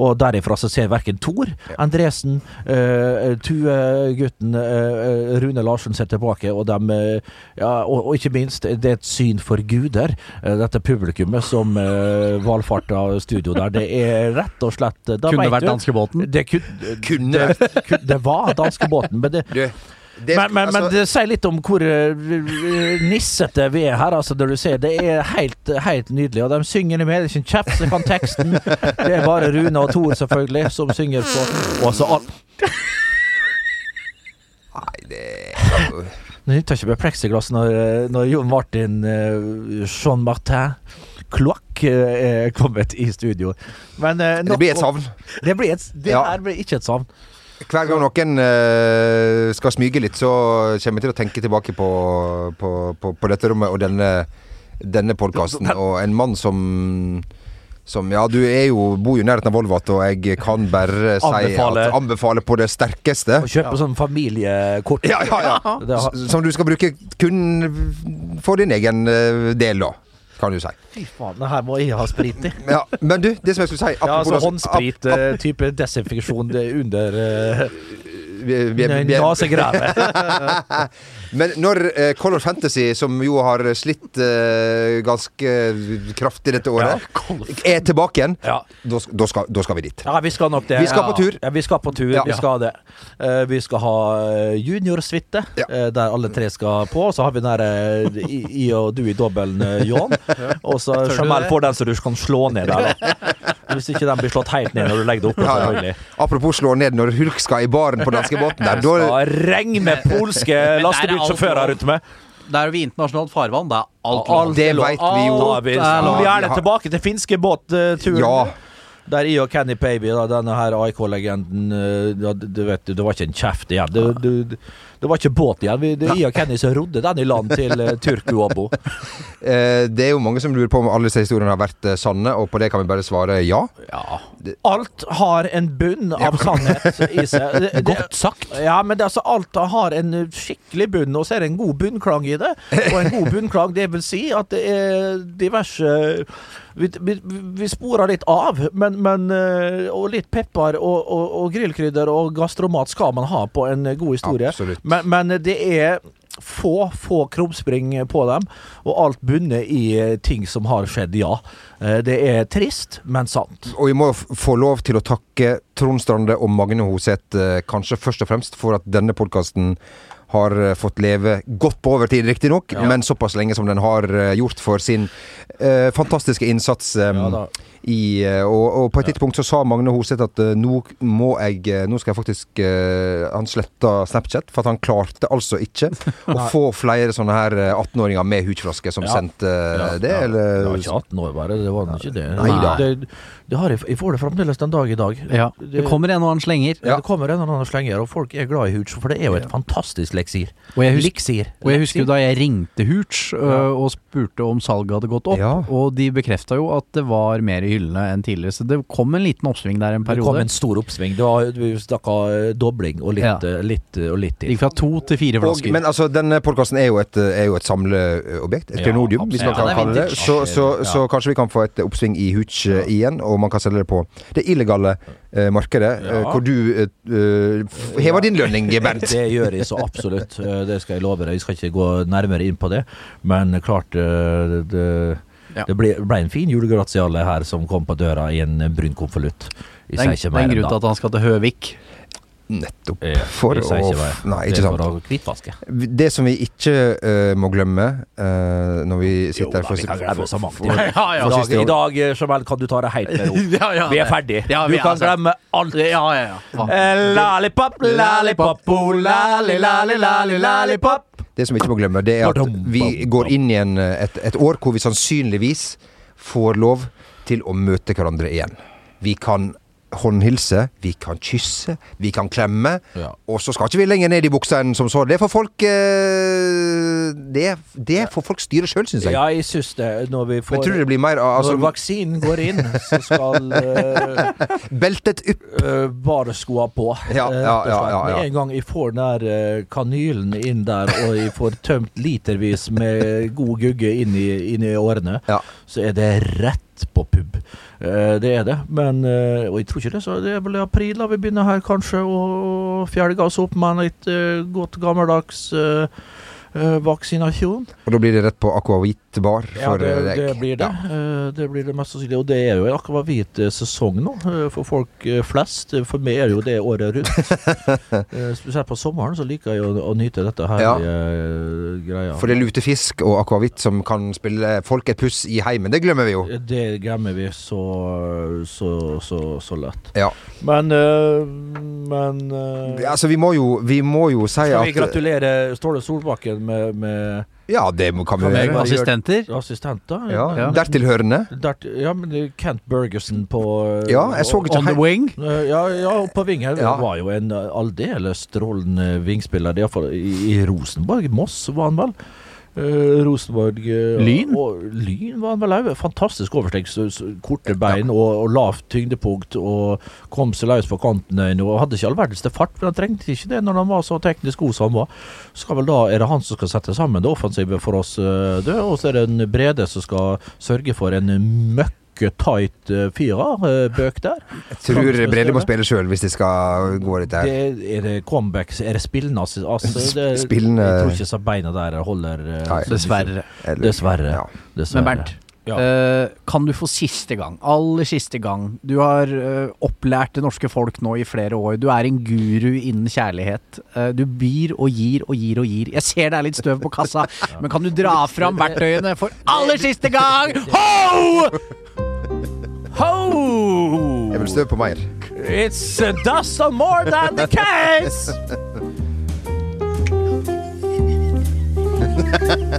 [SPEAKER 2] Og derifra så ser verken Thor, Andresen, eh, Tue-gutten, eh, Rune Larsen ser tilbake, og dem eh, ja, og, og ikke minst, det er et syn for guder, eh, dette publikummet som eh, valfarta studio der. Det er rett og slett da
[SPEAKER 4] kunne
[SPEAKER 2] vet
[SPEAKER 4] vært
[SPEAKER 2] du-
[SPEAKER 4] danskebåten.
[SPEAKER 2] Det kunne,
[SPEAKER 3] Kunne
[SPEAKER 2] det, kunne- det var danskebåten, men det,
[SPEAKER 3] Du, det,
[SPEAKER 2] men, men,
[SPEAKER 3] altså,
[SPEAKER 2] men det sier litt om hvor eh, nissete vi er her. Altså, når du ser, det er helt, helt nydelig. Og de synger med det er ikke en kjeft som kan teksten. Det er bare Rune og Tor, selvfølgelig, som synger på. Og altså, så all...
[SPEAKER 3] Nei, det
[SPEAKER 2] Det nytter ikke med pleksiglass når, eh, når Jon Martin eh, Jean Martin Kloakk eh, er kommet i studio. Men eh,
[SPEAKER 3] Det
[SPEAKER 2] nok
[SPEAKER 3] blir et
[SPEAKER 2] om-
[SPEAKER 3] savn.
[SPEAKER 2] Det, blir et, det
[SPEAKER 3] Ja.
[SPEAKER 2] her blir ikke et savn.
[SPEAKER 3] Hver gang noen eh, skal smyge litt, så kommer jeg til å tenke tilbake på, på, på, på dette rommet og denne, denne podkasten. Og en mann som Som ja, du er jo, bor jo i nærheten av Volvat, og jeg kan bare si
[SPEAKER 6] Anbefale.
[SPEAKER 3] at anbefale på det sterkeste.
[SPEAKER 6] Å kjøpe sånn familiekort.
[SPEAKER 3] Ja, ja, ja.
[SPEAKER 6] Det har-
[SPEAKER 3] S- Som du skal bruke kun for din egen eh, del, da. Kan du si.
[SPEAKER 2] Fy faen, det her må jeg ha sprit i.
[SPEAKER 3] Ja, men du, det som jeg skulle si
[SPEAKER 2] Ja, altså
[SPEAKER 3] apropos-
[SPEAKER 2] håndsprit, eh, type desinfeksjon det er under eh,
[SPEAKER 3] ap- vi- vi- vi-
[SPEAKER 2] nasegrevet.
[SPEAKER 3] Men når eh, Color Fantasy, som jo har slitt eh, ganske eh, kraftig dette året, er tilbake igjen,
[SPEAKER 2] Ja.
[SPEAKER 3] da, sk- da, skal, da skal vi dit.
[SPEAKER 2] Ja, vi skal nok det.
[SPEAKER 3] Vi skal på tur.
[SPEAKER 2] Ja, vi skal på tur,
[SPEAKER 3] Ja.
[SPEAKER 2] vi skal det. Eh, vi skal ha eh, juniorsuite,
[SPEAKER 3] Ja.
[SPEAKER 2] eh, der alle tre skal på. Og så har vi den der eh, i, i og du i dobbelen, eh, Johan. Og så
[SPEAKER 4] du
[SPEAKER 2] Jamal
[SPEAKER 4] det?
[SPEAKER 2] får den som du kan slå ned der, da. Hvis ikke den blir slått helt ned når du legger det oppå,
[SPEAKER 3] Ja, ja.
[SPEAKER 2] selvfølgelig.
[SPEAKER 3] Apropos slå ned når Hulk skal i baren på danskebåten der. Da,
[SPEAKER 2] Da regner polske
[SPEAKER 4] Men der er alt
[SPEAKER 2] lastebilsjåfører
[SPEAKER 4] lov.
[SPEAKER 2] rundt meg.
[SPEAKER 4] Der er vi i internasjonalt farvann. Det er alt
[SPEAKER 2] Alt
[SPEAKER 4] lov.
[SPEAKER 3] det veit vi jo.
[SPEAKER 2] Da er vi
[SPEAKER 4] Alt er lov.
[SPEAKER 2] Nå er gjerne
[SPEAKER 3] Ja.
[SPEAKER 2] tilbake til finske båtturen.
[SPEAKER 3] Ja.
[SPEAKER 2] Der jeg og Kenny Paby, da, denne her IK-legenden eh, ja, du- Du vet, det var ikke en kjeft igjen. Det, det- det- det var ikke båt igjen. Vi- Det er jeg og Kenny som rodde den i land til eh, Turkuabo.
[SPEAKER 3] Eh, det er jo mange som lurer på om alle disse historiene har vært eh, sanne, og på det kan vi bare svare ja.
[SPEAKER 2] Alt har en bunn av sannhet i seg. Det- det-
[SPEAKER 4] Godt sagt.
[SPEAKER 2] Ja, men det, er altså, alt har en eh, skikkelig bunn, og så er det en god bunnklang i det. Og en god bunnklang, det vil si at det er diverse Vi, vi, vi sporer litt av, men, men eh, Og litt pepper og, og, og grillkrydder og gastromat skal man ha på en god historie.
[SPEAKER 3] Absolutt.
[SPEAKER 2] Men, men det er få, få krumspring på dem, og alt bunner i eh, ting som har skjedd, ja. Eh, Det er trist, men sant.
[SPEAKER 3] Og vi må f- få lov til å takke Trond Strande og Magne Hoseth eh, kanskje først og fremst for at denne podkasten har eh, fått leve godt på overtid, riktignok,
[SPEAKER 2] Ja.
[SPEAKER 3] men såpass lenge som den har eh, gjort for sin eh, fantastiske innsats. eh,
[SPEAKER 2] Ja da.
[SPEAKER 3] i, eh, og, og på et tidspunkt så sa Magne Hoseth at eh, nå må jeg eh, Nå skal jeg faktisk eh, Han sletta Snapchat, for at han klarte altså ikke å få flere sånne her eh, 18-åringer med hudflaske som
[SPEAKER 2] Ja.
[SPEAKER 3] sendte eh,
[SPEAKER 2] Ja,
[SPEAKER 3] det,
[SPEAKER 2] ja. Det var
[SPEAKER 3] eller
[SPEAKER 2] ikke 18 år, bare. Det var ikke det.
[SPEAKER 3] Nei da.
[SPEAKER 2] Det, det har jeg, jeg får det fremdeles den dag i dag.
[SPEAKER 4] Ja. Det kommer en og annen slenger.
[SPEAKER 2] Ja. Det kommer en eller annen slenger, og folk er glad i Hooch, for det er jo et fantastisk leksir.
[SPEAKER 4] Og jeg husker,
[SPEAKER 2] Liksir.
[SPEAKER 4] og jeg husker jo da jeg ringte Hooch øh, og spurte om salget hadde gått opp,
[SPEAKER 3] Ja.
[SPEAKER 4] og de bekrefta jo at det var mer i hyllene enn tidligere, så det kom en liten oppsving der en
[SPEAKER 2] Det kom
[SPEAKER 4] periode.
[SPEAKER 2] en stor oppsving. Det var, vi snakka eh, dobling og litt,
[SPEAKER 4] Ja.
[SPEAKER 2] eh, litt eh, og litt til.
[SPEAKER 4] Gikk fra to til fire
[SPEAKER 3] Og,
[SPEAKER 4] flasker.
[SPEAKER 3] men altså, denne podkasten er jo et, eh, er jo et samleobjekt. Et
[SPEAKER 2] Ja,
[SPEAKER 3] klenodium, hvis man
[SPEAKER 2] absolutt.
[SPEAKER 3] kan
[SPEAKER 4] Ja, det er
[SPEAKER 3] kalle det.
[SPEAKER 4] vintage.
[SPEAKER 3] Så, så, så kanskje vi kan få et oppsving i Hooch eh, igjen, og man kan selge det på det illegale eh, markedet, eh,
[SPEAKER 2] Ja.
[SPEAKER 3] hvor du eh, eh, f- hever din lønning, Bernt.
[SPEAKER 2] Det gjør jeg så absolutt. Eh, Det skal jeg love deg. Jeg skal ikke gå nærmere inn på det, men klart eh, Det,
[SPEAKER 4] Ja.
[SPEAKER 2] det ble, ble en fin julegratiale her som kom på døra i en brun konvolutt. Jeg
[SPEAKER 4] det er en,
[SPEAKER 2] sier ikke
[SPEAKER 4] det
[SPEAKER 2] mer
[SPEAKER 4] er en
[SPEAKER 2] enn
[SPEAKER 4] grunn
[SPEAKER 2] da.
[SPEAKER 4] til at han skal til Høvik.
[SPEAKER 3] Nettopp.
[SPEAKER 2] Ja,
[SPEAKER 3] For
[SPEAKER 2] jeg sier
[SPEAKER 3] å
[SPEAKER 2] ikke hva jeg-
[SPEAKER 3] Nei,
[SPEAKER 2] det er
[SPEAKER 3] Eh, ikke sant.
[SPEAKER 2] For å hvitvaske.
[SPEAKER 3] Det som vi ikke eh, må glemme eh, når vi
[SPEAKER 2] Jo,
[SPEAKER 3] sitter
[SPEAKER 2] da,
[SPEAKER 3] her for,
[SPEAKER 2] vi kan glemme så mangt.
[SPEAKER 3] for,
[SPEAKER 4] Ja, ja,
[SPEAKER 2] I
[SPEAKER 3] for
[SPEAKER 2] dag-
[SPEAKER 3] siste
[SPEAKER 2] I
[SPEAKER 3] gang.
[SPEAKER 2] dag, eh, Jamal, kan du ta det helt med ro.
[SPEAKER 4] Ja, ja,
[SPEAKER 2] Vi er
[SPEAKER 4] det-
[SPEAKER 2] ferdig.
[SPEAKER 4] Ja,
[SPEAKER 2] Du
[SPEAKER 4] vi er
[SPEAKER 2] kan
[SPEAKER 4] så-
[SPEAKER 2] glemme alt.
[SPEAKER 4] Ja, ja, ja.
[SPEAKER 2] Eh, Lollipop, lollipop, oh, lolli, lolli, lolli, lollipop.
[SPEAKER 3] Det som vi ikke må glemme, det er at vi går inn i en, eh, et, et år hvor vi sannsynligvis får lov til å møte hverandre igjen. Vi kan håndhilse, vi kan kysse, vi kan klemme.
[SPEAKER 2] Ja.
[SPEAKER 3] Og så skal ikke vi lenger ned i buksa enn som så. Det får folk eh, Det, det får folk styre sjøl, syns jeg.
[SPEAKER 2] Ja, jeg syns det. Når vi
[SPEAKER 3] Men
[SPEAKER 2] får
[SPEAKER 3] jeg tror det blir mer av-
[SPEAKER 2] Når
[SPEAKER 3] altså,
[SPEAKER 2] vaksinen går inn, så skal eh,
[SPEAKER 3] beltet opp.
[SPEAKER 2] øh, Vareskoa på.
[SPEAKER 3] Ja,
[SPEAKER 2] eh,
[SPEAKER 3] ja,
[SPEAKER 2] rett og slett.
[SPEAKER 3] ja, ja, ja.
[SPEAKER 2] Med en gang jeg får den der eh, kanylen inn der, og jeg får tømt litervis med god gugge inn i, inn i årene,
[SPEAKER 3] Ja.
[SPEAKER 2] så er det rett på pub. Eh, det er det. Men eh, Og jeg tror ikke det, så det er vel i april da vi begynner her, kanskje, å fjelge oss opp med en litt eh, godt gammeldags eh, eh, vaksinasjon.
[SPEAKER 3] Og da blir det rett på Aquavit bar
[SPEAKER 2] Ja,
[SPEAKER 3] for
[SPEAKER 2] det,
[SPEAKER 3] deg.
[SPEAKER 2] det blir det.
[SPEAKER 3] Ja.
[SPEAKER 2] Eh, Det blir det mest sannsynlig. Og det er jo en akvavit-sesong nå, eh, for folk eh, flest. For meg er det jo det året rundt. Eh, Spesielt på sommeren så liker jeg å, å nyte dette her
[SPEAKER 3] Ja.
[SPEAKER 2] eh, greia.
[SPEAKER 3] For det er lutefisk og akvavitt som kan spille folk et puss i heimen. Det glemmer vi jo.
[SPEAKER 2] Eh, det glemmer vi så, så, så, så lett.
[SPEAKER 3] Ja.
[SPEAKER 2] Men eh, Men eh,
[SPEAKER 3] Altså, vi må jo, vi må jo si
[SPEAKER 2] Skal vi
[SPEAKER 3] at
[SPEAKER 2] gratulere Ståle Solbakken med, med
[SPEAKER 3] Ja, det må- kan vi
[SPEAKER 2] Kan jeg
[SPEAKER 3] gjøre.
[SPEAKER 2] bare-
[SPEAKER 4] Assistenter.
[SPEAKER 2] assistenter?
[SPEAKER 3] Ja.
[SPEAKER 4] Ja.
[SPEAKER 3] Dertilhørende.
[SPEAKER 2] Dert, Eh, ja, men det er Kent Bergerson på eh,
[SPEAKER 3] Ja, jeg så ikke
[SPEAKER 4] On the
[SPEAKER 3] helt
[SPEAKER 4] wing.
[SPEAKER 2] Eh, Ja, ja og på Ving her
[SPEAKER 3] Ja.
[SPEAKER 2] var jo en eh, aldeles strålende vingspiller, iallfall i, i Rosenborg. Moss var han vel. Eh, Rosenborg eh,
[SPEAKER 4] Lyn?
[SPEAKER 2] Og, lyn var han vel òg. Fantastisk oversteg. så- så Korte bein og, og lavt tyngdepunkt. Og kom seg løs på kantene. Og hadde ikke all verdens til fart, men han trengte ikke det når han var så teknisk god som han var. Så skal vel da, er det han som skal sette sammen det offensive for oss, eh, det, og så er det en Brede som skal sørge for en møkke tight eh, firer, eh, bøk der.
[SPEAKER 3] Jeg tror Brede må spille sjøl hvis de skal gå litt der.
[SPEAKER 2] Det, er det comebacks? Er det spillende assi- ass- det-
[SPEAKER 3] Spillende-
[SPEAKER 2] Jeg tror ikke så beina der holder. eh,
[SPEAKER 3] Nei.
[SPEAKER 4] Dessverre.
[SPEAKER 3] Eller-
[SPEAKER 2] Dessverre.
[SPEAKER 3] Ja.
[SPEAKER 2] Dessverre.
[SPEAKER 4] Men Bernt,
[SPEAKER 2] Ja.
[SPEAKER 4] eh, kan du for siste gang, aller siste gang Du har eh, opplært det norske folk nå i flere år. Du er en guru innen kjærlighet. Eh, du byr og gir og gir og gir. Jeg ser det er litt støv på kassa, men kan du dra fram verktøyene for aller siste gang? Ho!
[SPEAKER 2] Ho!
[SPEAKER 3] Jeg vil støve på mer.
[SPEAKER 2] It's a dozen more than the case!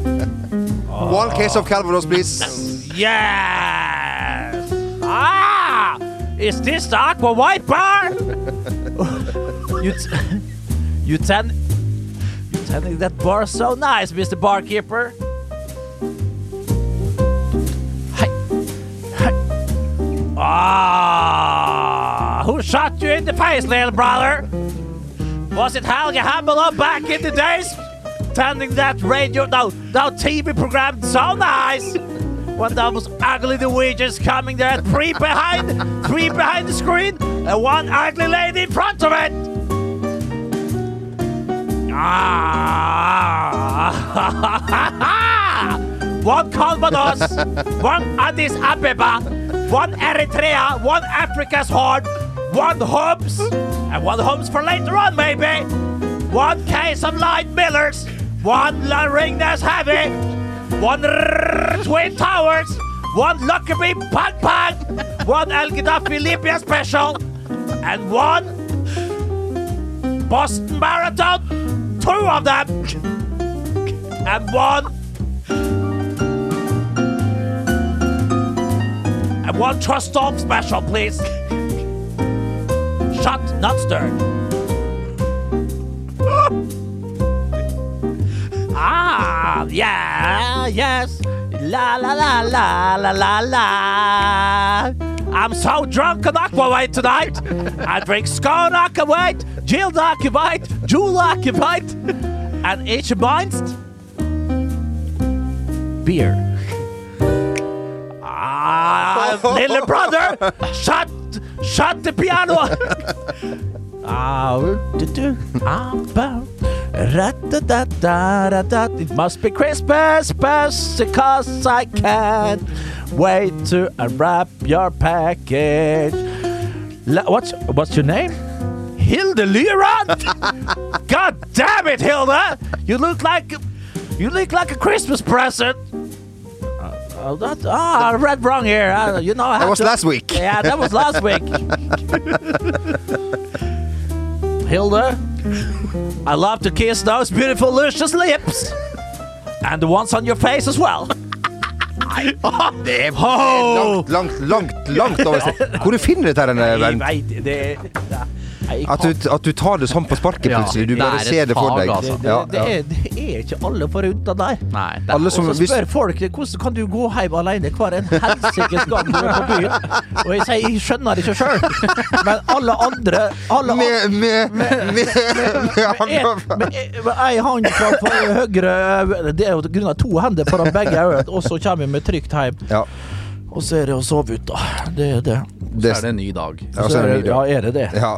[SPEAKER 3] One case of Calvados, please.
[SPEAKER 2] Yes! Ah! Is this the aqua white bar? you, t- you ten- you tending that bar so nice, Mr. Barkeeper. Hey. Hey. Ah! Who shot you in the face, little brother? Was it Helge Hamelow back in the days? Tending that radio, no, no TV program so nice! when those ugly Norwegians coming there, three behind, three behind the screen, and one ugly lady in front of it. Ah! one Calvados, one Addis Ababa, one Eritrea, one Africa's Horn, one Hobbs, and one Hobbs for later on, maybe. One case of Light Millers, one La Ringnes Heavy, one R- Twin Towers, one Lockerbie Pan Pan, one El Gaddafi Libya Special, and one Boston Marathon, two of them, and one. And one trust Storm special, please. Shut, not stirred. ah, yeah, yes. La la la la la la la. Uh, I'm so drunk on Aquavite tonight. I drink Scone Aquavite, Jill Aquavite, Jewel Aquavite, and each Beinst beer. Ah, little brother, shut, shut the piano. Ow-du-du, ow-bow, ra-da-da-da-da-da. It must be Christmas because I can't wait to unwrap your package. La- what's what's your name? Hilda Lyrand? God damn it, Hilda! You look like you look like a Christmas present. Uh, oh, that, ah, I read wrong here. Uh, you know, I
[SPEAKER 3] That
[SPEAKER 2] have
[SPEAKER 3] was
[SPEAKER 2] to-
[SPEAKER 3] last week.
[SPEAKER 2] yeah, that was last week. Hilda, I love to kiss those beautiful, luscious lips. And the ones on your face as well. Oh.
[SPEAKER 3] Det er
[SPEAKER 2] Ho!
[SPEAKER 3] langt, langt, langt langt over streken. Hvor du finner du dette, her,
[SPEAKER 2] Jeg
[SPEAKER 3] Bernt?
[SPEAKER 2] vet, det, jeg
[SPEAKER 3] At du, at du tar det sånn på sparket
[SPEAKER 4] Ja,
[SPEAKER 3] plutselig. Du
[SPEAKER 4] det
[SPEAKER 3] bare
[SPEAKER 4] er et
[SPEAKER 3] ser det for
[SPEAKER 4] fag,
[SPEAKER 3] deg.
[SPEAKER 4] altså.
[SPEAKER 3] Ja,
[SPEAKER 2] det, det,
[SPEAKER 3] ja.
[SPEAKER 2] er, det er ikke alle forunt av deg.
[SPEAKER 4] Nei, det er
[SPEAKER 3] Alle som,
[SPEAKER 2] Og så
[SPEAKER 3] hvis,
[SPEAKER 2] spør folk hvordan kan du gå hjem alene hver en helsikes gang du er på byen. Og jeg sier jeg skjønner det ikke sjøl. Men alle andre alle an-
[SPEAKER 3] med, med, med, med,
[SPEAKER 2] En-
[SPEAKER 3] med
[SPEAKER 2] men en- men Ei hånd fra fra høyre Det er jo grunna to hender foran begge øynene, og så kommer vi med trygt hjem.
[SPEAKER 3] ja,
[SPEAKER 2] Og så er det å sove ut, da. Det er det.
[SPEAKER 3] det,
[SPEAKER 4] er det en ny dag.
[SPEAKER 3] ja,
[SPEAKER 2] Så
[SPEAKER 3] så
[SPEAKER 2] er
[SPEAKER 3] er
[SPEAKER 2] det,
[SPEAKER 3] det,
[SPEAKER 2] ja, er det det?
[SPEAKER 3] ja,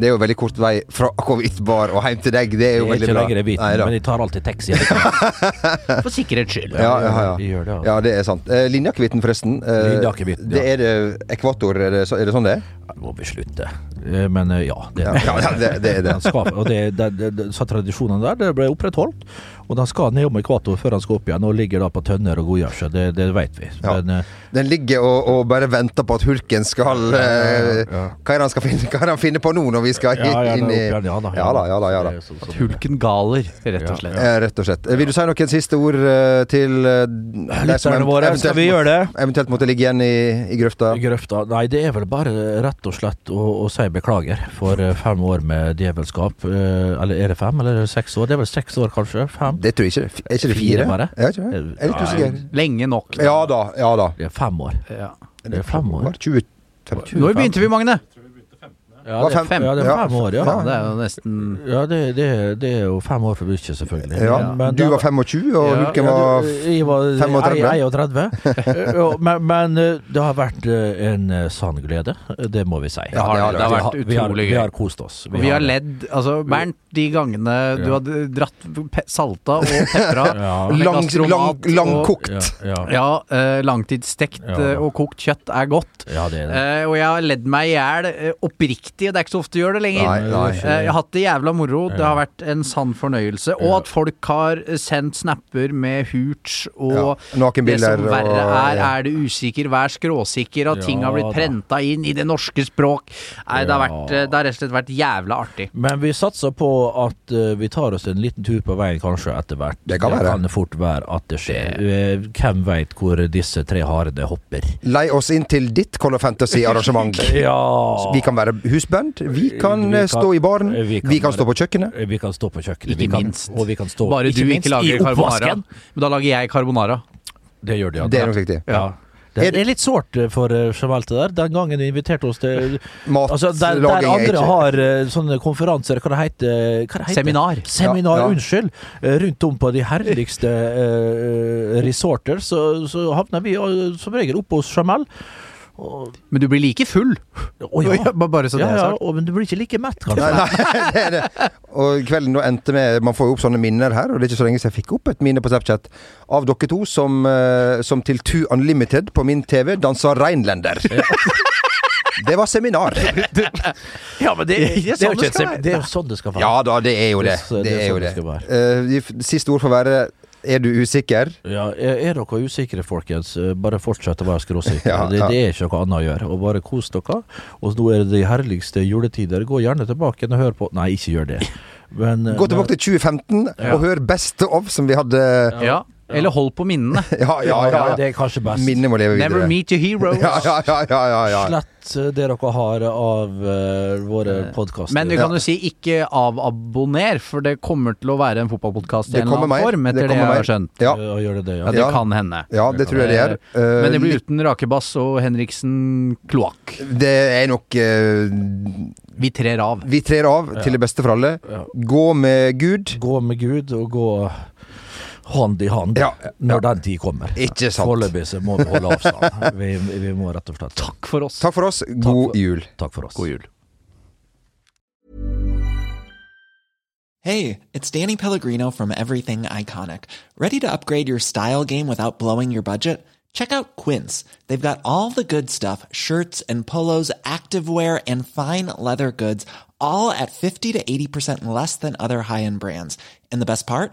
[SPEAKER 3] det er jo veldig kort vei fra Akovit bar og hjem til deg. Det er
[SPEAKER 2] Jeg
[SPEAKER 3] jo
[SPEAKER 2] er
[SPEAKER 3] veldig
[SPEAKER 2] ikke
[SPEAKER 3] bra.
[SPEAKER 2] lenger i
[SPEAKER 3] Nei
[SPEAKER 2] biten,
[SPEAKER 3] da.
[SPEAKER 2] men jeg tar alltid taxi. Jeg
[SPEAKER 4] For sikkerhets skyld.
[SPEAKER 3] Ja, ja, ja.
[SPEAKER 2] gjør det, altså.
[SPEAKER 3] ja, det er sant. Eh, Linjakevitten, forresten. Eh,
[SPEAKER 2] Linjakevitten, ja.
[SPEAKER 3] det er det ekvator, er det, så- er det sånn det er?
[SPEAKER 2] må vi slutte. Eh, Men eh, ja, det
[SPEAKER 3] Ja,
[SPEAKER 2] er det.
[SPEAKER 3] ja det, det er det. altså.
[SPEAKER 2] Han skal, og det, det, det, det, så tradisjonene der det ble opprettholdt. Og han skal ned om ekvator før han skal opp igjen, og ligger da på tønner og godgjør seg. Det, det vet vi.
[SPEAKER 3] Ja.
[SPEAKER 2] Men, eh,
[SPEAKER 3] Den ligger og, og bare venter på at hulken skal eh, Hva er det han skal finne, hva er det han finner på nå når vi skal
[SPEAKER 2] ja, ja, det er
[SPEAKER 3] inn i
[SPEAKER 2] opp igjen, ja da.
[SPEAKER 3] Ja da, ja da. Ja, da.
[SPEAKER 2] Det er sånn som-
[SPEAKER 4] Hulken galer, rett og slett.
[SPEAKER 3] Eh, Rett og slett. Eh, Vil du si noen siste ord eh, til eh, de som
[SPEAKER 2] Lytterne våre, skal
[SPEAKER 3] eventuelt
[SPEAKER 2] vi
[SPEAKER 3] må-
[SPEAKER 2] gjøre det?
[SPEAKER 3] Eventuelt måtte ligge igjen i, i grøfta.
[SPEAKER 2] Grøfta Nei, det er vel bare eh, rett og og slett å, å si beklager for eh, fem år med djevelskap. Eh, Eller er det fem, eller er det seks år? Det er vel seks år, kanskje? Fem?
[SPEAKER 3] Det tror jeg ikke. Er ikke
[SPEAKER 2] Fire
[SPEAKER 3] det fire?
[SPEAKER 2] bare?
[SPEAKER 3] Ja, ikke det? Jeg er litt usikker.
[SPEAKER 4] Lenge nok.
[SPEAKER 3] Ja da. ja da.
[SPEAKER 2] Det er fem år.
[SPEAKER 4] Ja.
[SPEAKER 2] Det er fem år.
[SPEAKER 3] 20,
[SPEAKER 4] Når begynte vi, Magne?
[SPEAKER 2] Ja, det er fem, ja, det er
[SPEAKER 3] Ja.
[SPEAKER 2] fem år, ja.
[SPEAKER 4] Ja, det er jo nesten
[SPEAKER 2] Ja, det, det, det er jo fem år for mye, selvfølgelig.
[SPEAKER 3] ja.
[SPEAKER 2] Men
[SPEAKER 3] Du
[SPEAKER 2] da-
[SPEAKER 3] var 25, og
[SPEAKER 2] Ja,
[SPEAKER 3] Ulrikke
[SPEAKER 2] ja,
[SPEAKER 3] var
[SPEAKER 2] du- eh, jeg var
[SPEAKER 3] 35.
[SPEAKER 2] 31. Eh, og- men, men eh, det har vært eh, en eh, sann glede, eh, det må vi si.
[SPEAKER 3] Ja, det har det. Det har
[SPEAKER 4] vært
[SPEAKER 2] vi har,
[SPEAKER 4] utrolig
[SPEAKER 2] Vi
[SPEAKER 4] gøy.
[SPEAKER 2] har kost oss.
[SPEAKER 4] Vi har ledd. Altså, Bernt, de gangene du
[SPEAKER 2] Ja.
[SPEAKER 4] hadde dratt pe salta og pepra
[SPEAKER 2] Ja.
[SPEAKER 4] med
[SPEAKER 3] lang, lang,
[SPEAKER 4] gastromat og-
[SPEAKER 3] langkokt.
[SPEAKER 2] Ja, ja, ja.
[SPEAKER 4] Ja, eh, langtidsstekt
[SPEAKER 2] Ja.
[SPEAKER 4] eh, og kokt kjøtt er godt.
[SPEAKER 2] det er det.
[SPEAKER 4] Eh, og jeg har ledd meg i hjel eh, oppriktig, det er ikke så ofte jeg gjør det lenger.
[SPEAKER 3] Nei, nei.
[SPEAKER 4] Eh, jeg har hatt det jævla moro, det har vært en sann fornøyelse. Og
[SPEAKER 2] Ja.
[SPEAKER 4] at folk har eh, sendt snapper med hooch og
[SPEAKER 3] Ja, nakenbilder
[SPEAKER 4] Det som verre
[SPEAKER 3] og-
[SPEAKER 4] er,
[SPEAKER 3] ja.
[SPEAKER 4] er du usikker, vær skråsikker, at ting har blitt
[SPEAKER 2] Ja, da.
[SPEAKER 4] prenta inn i det norske språk. Nei, det har,
[SPEAKER 2] Ja.
[SPEAKER 4] vært, eh, det har rett og slett vært jævla artig.
[SPEAKER 2] Men vi satser på at eh, vi tar oss en liten tur på veien kanskje etter hvert.
[SPEAKER 3] Det kan være.
[SPEAKER 2] fort være at det skjer. Eh, Hvem veit hvor disse tre hardene hopper?
[SPEAKER 3] Lei oss inn til ditt Call of Fantasy-arrangement.
[SPEAKER 2] Ja
[SPEAKER 3] Vi kan være husband, vi kan, eh, stå i baren,
[SPEAKER 2] eh,
[SPEAKER 3] vi kan, stå på kjøkkenet.
[SPEAKER 2] Vi kan stå på kjøkkenet.
[SPEAKER 4] Ikke
[SPEAKER 2] vi kan,
[SPEAKER 4] minst.
[SPEAKER 2] Og vi kan stå
[SPEAKER 4] Bare du
[SPEAKER 2] minst
[SPEAKER 4] ikke
[SPEAKER 2] i
[SPEAKER 4] lager carbonara.
[SPEAKER 2] oppvasken.
[SPEAKER 4] Men da lager jeg carbonara.
[SPEAKER 2] Det gjør de, ja.
[SPEAKER 3] Det er nok riktig.
[SPEAKER 2] Ja. Det
[SPEAKER 3] Er-
[SPEAKER 2] er litt sårt eh, for eh, Chevalte der. Den gangen de inviterte oss til altså, der, der
[SPEAKER 3] Matlaging er
[SPEAKER 2] andre
[SPEAKER 3] ikke
[SPEAKER 2] har eh, sånne konferanser, hva det heter eh, hva det heter?
[SPEAKER 4] Seminar.
[SPEAKER 2] Seminar,
[SPEAKER 3] Ja, ja.
[SPEAKER 2] unnskyld. eh, Rundt om på de herligste eh, resorter, så, så havner vi eh, som regel oppe hos Jamal.
[SPEAKER 4] Men du blir like full.
[SPEAKER 2] Å ja.
[SPEAKER 4] Ba- Bare så det
[SPEAKER 2] Ja,
[SPEAKER 4] er
[SPEAKER 2] ja,
[SPEAKER 4] sagt.
[SPEAKER 2] og, men du blir ikke like mett, kanskje.
[SPEAKER 3] Nei, nei, det er det. Og kvelden da endte med Man får jo opp sånne minner her, og det er ikke så lenge siden jeg fikk opp et minne på Snapchat av dere to som, eh, som til Two Unlimited på min TV dansa Reinlender. Det var seminar.
[SPEAKER 2] Ja, men det,
[SPEAKER 4] det er sånn det skal være.
[SPEAKER 2] Det er jo sånn det skal være.
[SPEAKER 3] Ja da, det er jo det.
[SPEAKER 2] Det er-
[SPEAKER 3] Det
[SPEAKER 2] det er
[SPEAKER 3] er jo
[SPEAKER 2] sånn
[SPEAKER 3] det.
[SPEAKER 2] det skal være.
[SPEAKER 3] Eh, de f- Siste ord får være Er du usikker?
[SPEAKER 2] Ja, er er dere usikre, folkens, eh, bare fortsett å være skråsikre.
[SPEAKER 3] Ja,
[SPEAKER 2] det,
[SPEAKER 3] ja.
[SPEAKER 2] det er ikke noe annet å gjøre. Og bare kos dere. Og nå er det de herligste juletider. Gå gjerne tilbake igjen og hør på Nei, ikke gjør det. Men, eh,
[SPEAKER 3] Gå tilbake til 2015
[SPEAKER 2] Ja.
[SPEAKER 3] og hør Best of, som vi hadde Ja,
[SPEAKER 4] Ja. Eller hold på minnene.
[SPEAKER 3] ja,
[SPEAKER 2] men, ja,
[SPEAKER 3] ja. ja,
[SPEAKER 2] Det er kanskje best.
[SPEAKER 3] Minnet må leve
[SPEAKER 4] Never
[SPEAKER 3] videre.
[SPEAKER 4] meet your heroes.
[SPEAKER 3] Ja, ja, ja, ja, ja, ja.
[SPEAKER 2] Slett eh, det dere har av eh, våre podkaster.
[SPEAKER 4] Men vi kan jo si ikke avabonner, for det kommer til å være en fotballpodkast i
[SPEAKER 3] Det
[SPEAKER 4] en eller
[SPEAKER 3] kommer
[SPEAKER 4] annen
[SPEAKER 3] mer.
[SPEAKER 4] form, etter det,
[SPEAKER 3] kommer
[SPEAKER 4] jeg
[SPEAKER 3] mer.
[SPEAKER 4] har skjønt.
[SPEAKER 3] Ja.
[SPEAKER 2] gjør Eh, det det,
[SPEAKER 4] Ja,
[SPEAKER 2] ja.
[SPEAKER 4] det
[SPEAKER 3] Ja.
[SPEAKER 4] kan hende.
[SPEAKER 3] ja, det tror jeg det er. Eh,
[SPEAKER 4] Men det blir uten Rakebass og Henriksen kloakk.
[SPEAKER 3] Det er nok eh,
[SPEAKER 4] Vi trer av.
[SPEAKER 3] Vi trer av til det beste for alle.
[SPEAKER 2] Ja.
[SPEAKER 3] Gå med Gud.
[SPEAKER 2] Gå med Gud, og gå hånd i hånd
[SPEAKER 3] Ja, ja.
[SPEAKER 2] når den tid kommer.
[SPEAKER 3] Ikke sant.
[SPEAKER 2] Foreløpig så må vi holde avstand. Vi, vi må rett og slett
[SPEAKER 4] Takk for oss.
[SPEAKER 3] Takk for oss. God
[SPEAKER 2] for-
[SPEAKER 3] jul.
[SPEAKER 2] Takk for oss.
[SPEAKER 4] God jul.
[SPEAKER 7] Hey, it's Danny Pellegrino from Everything Iconic. Ready to upgrade your style game without blowing your budget? Check out Quince. They've got all the good stuff shirts and polos, activewear, and fine leather goods, all at 50 to 80% less than other high end brands. And the best part?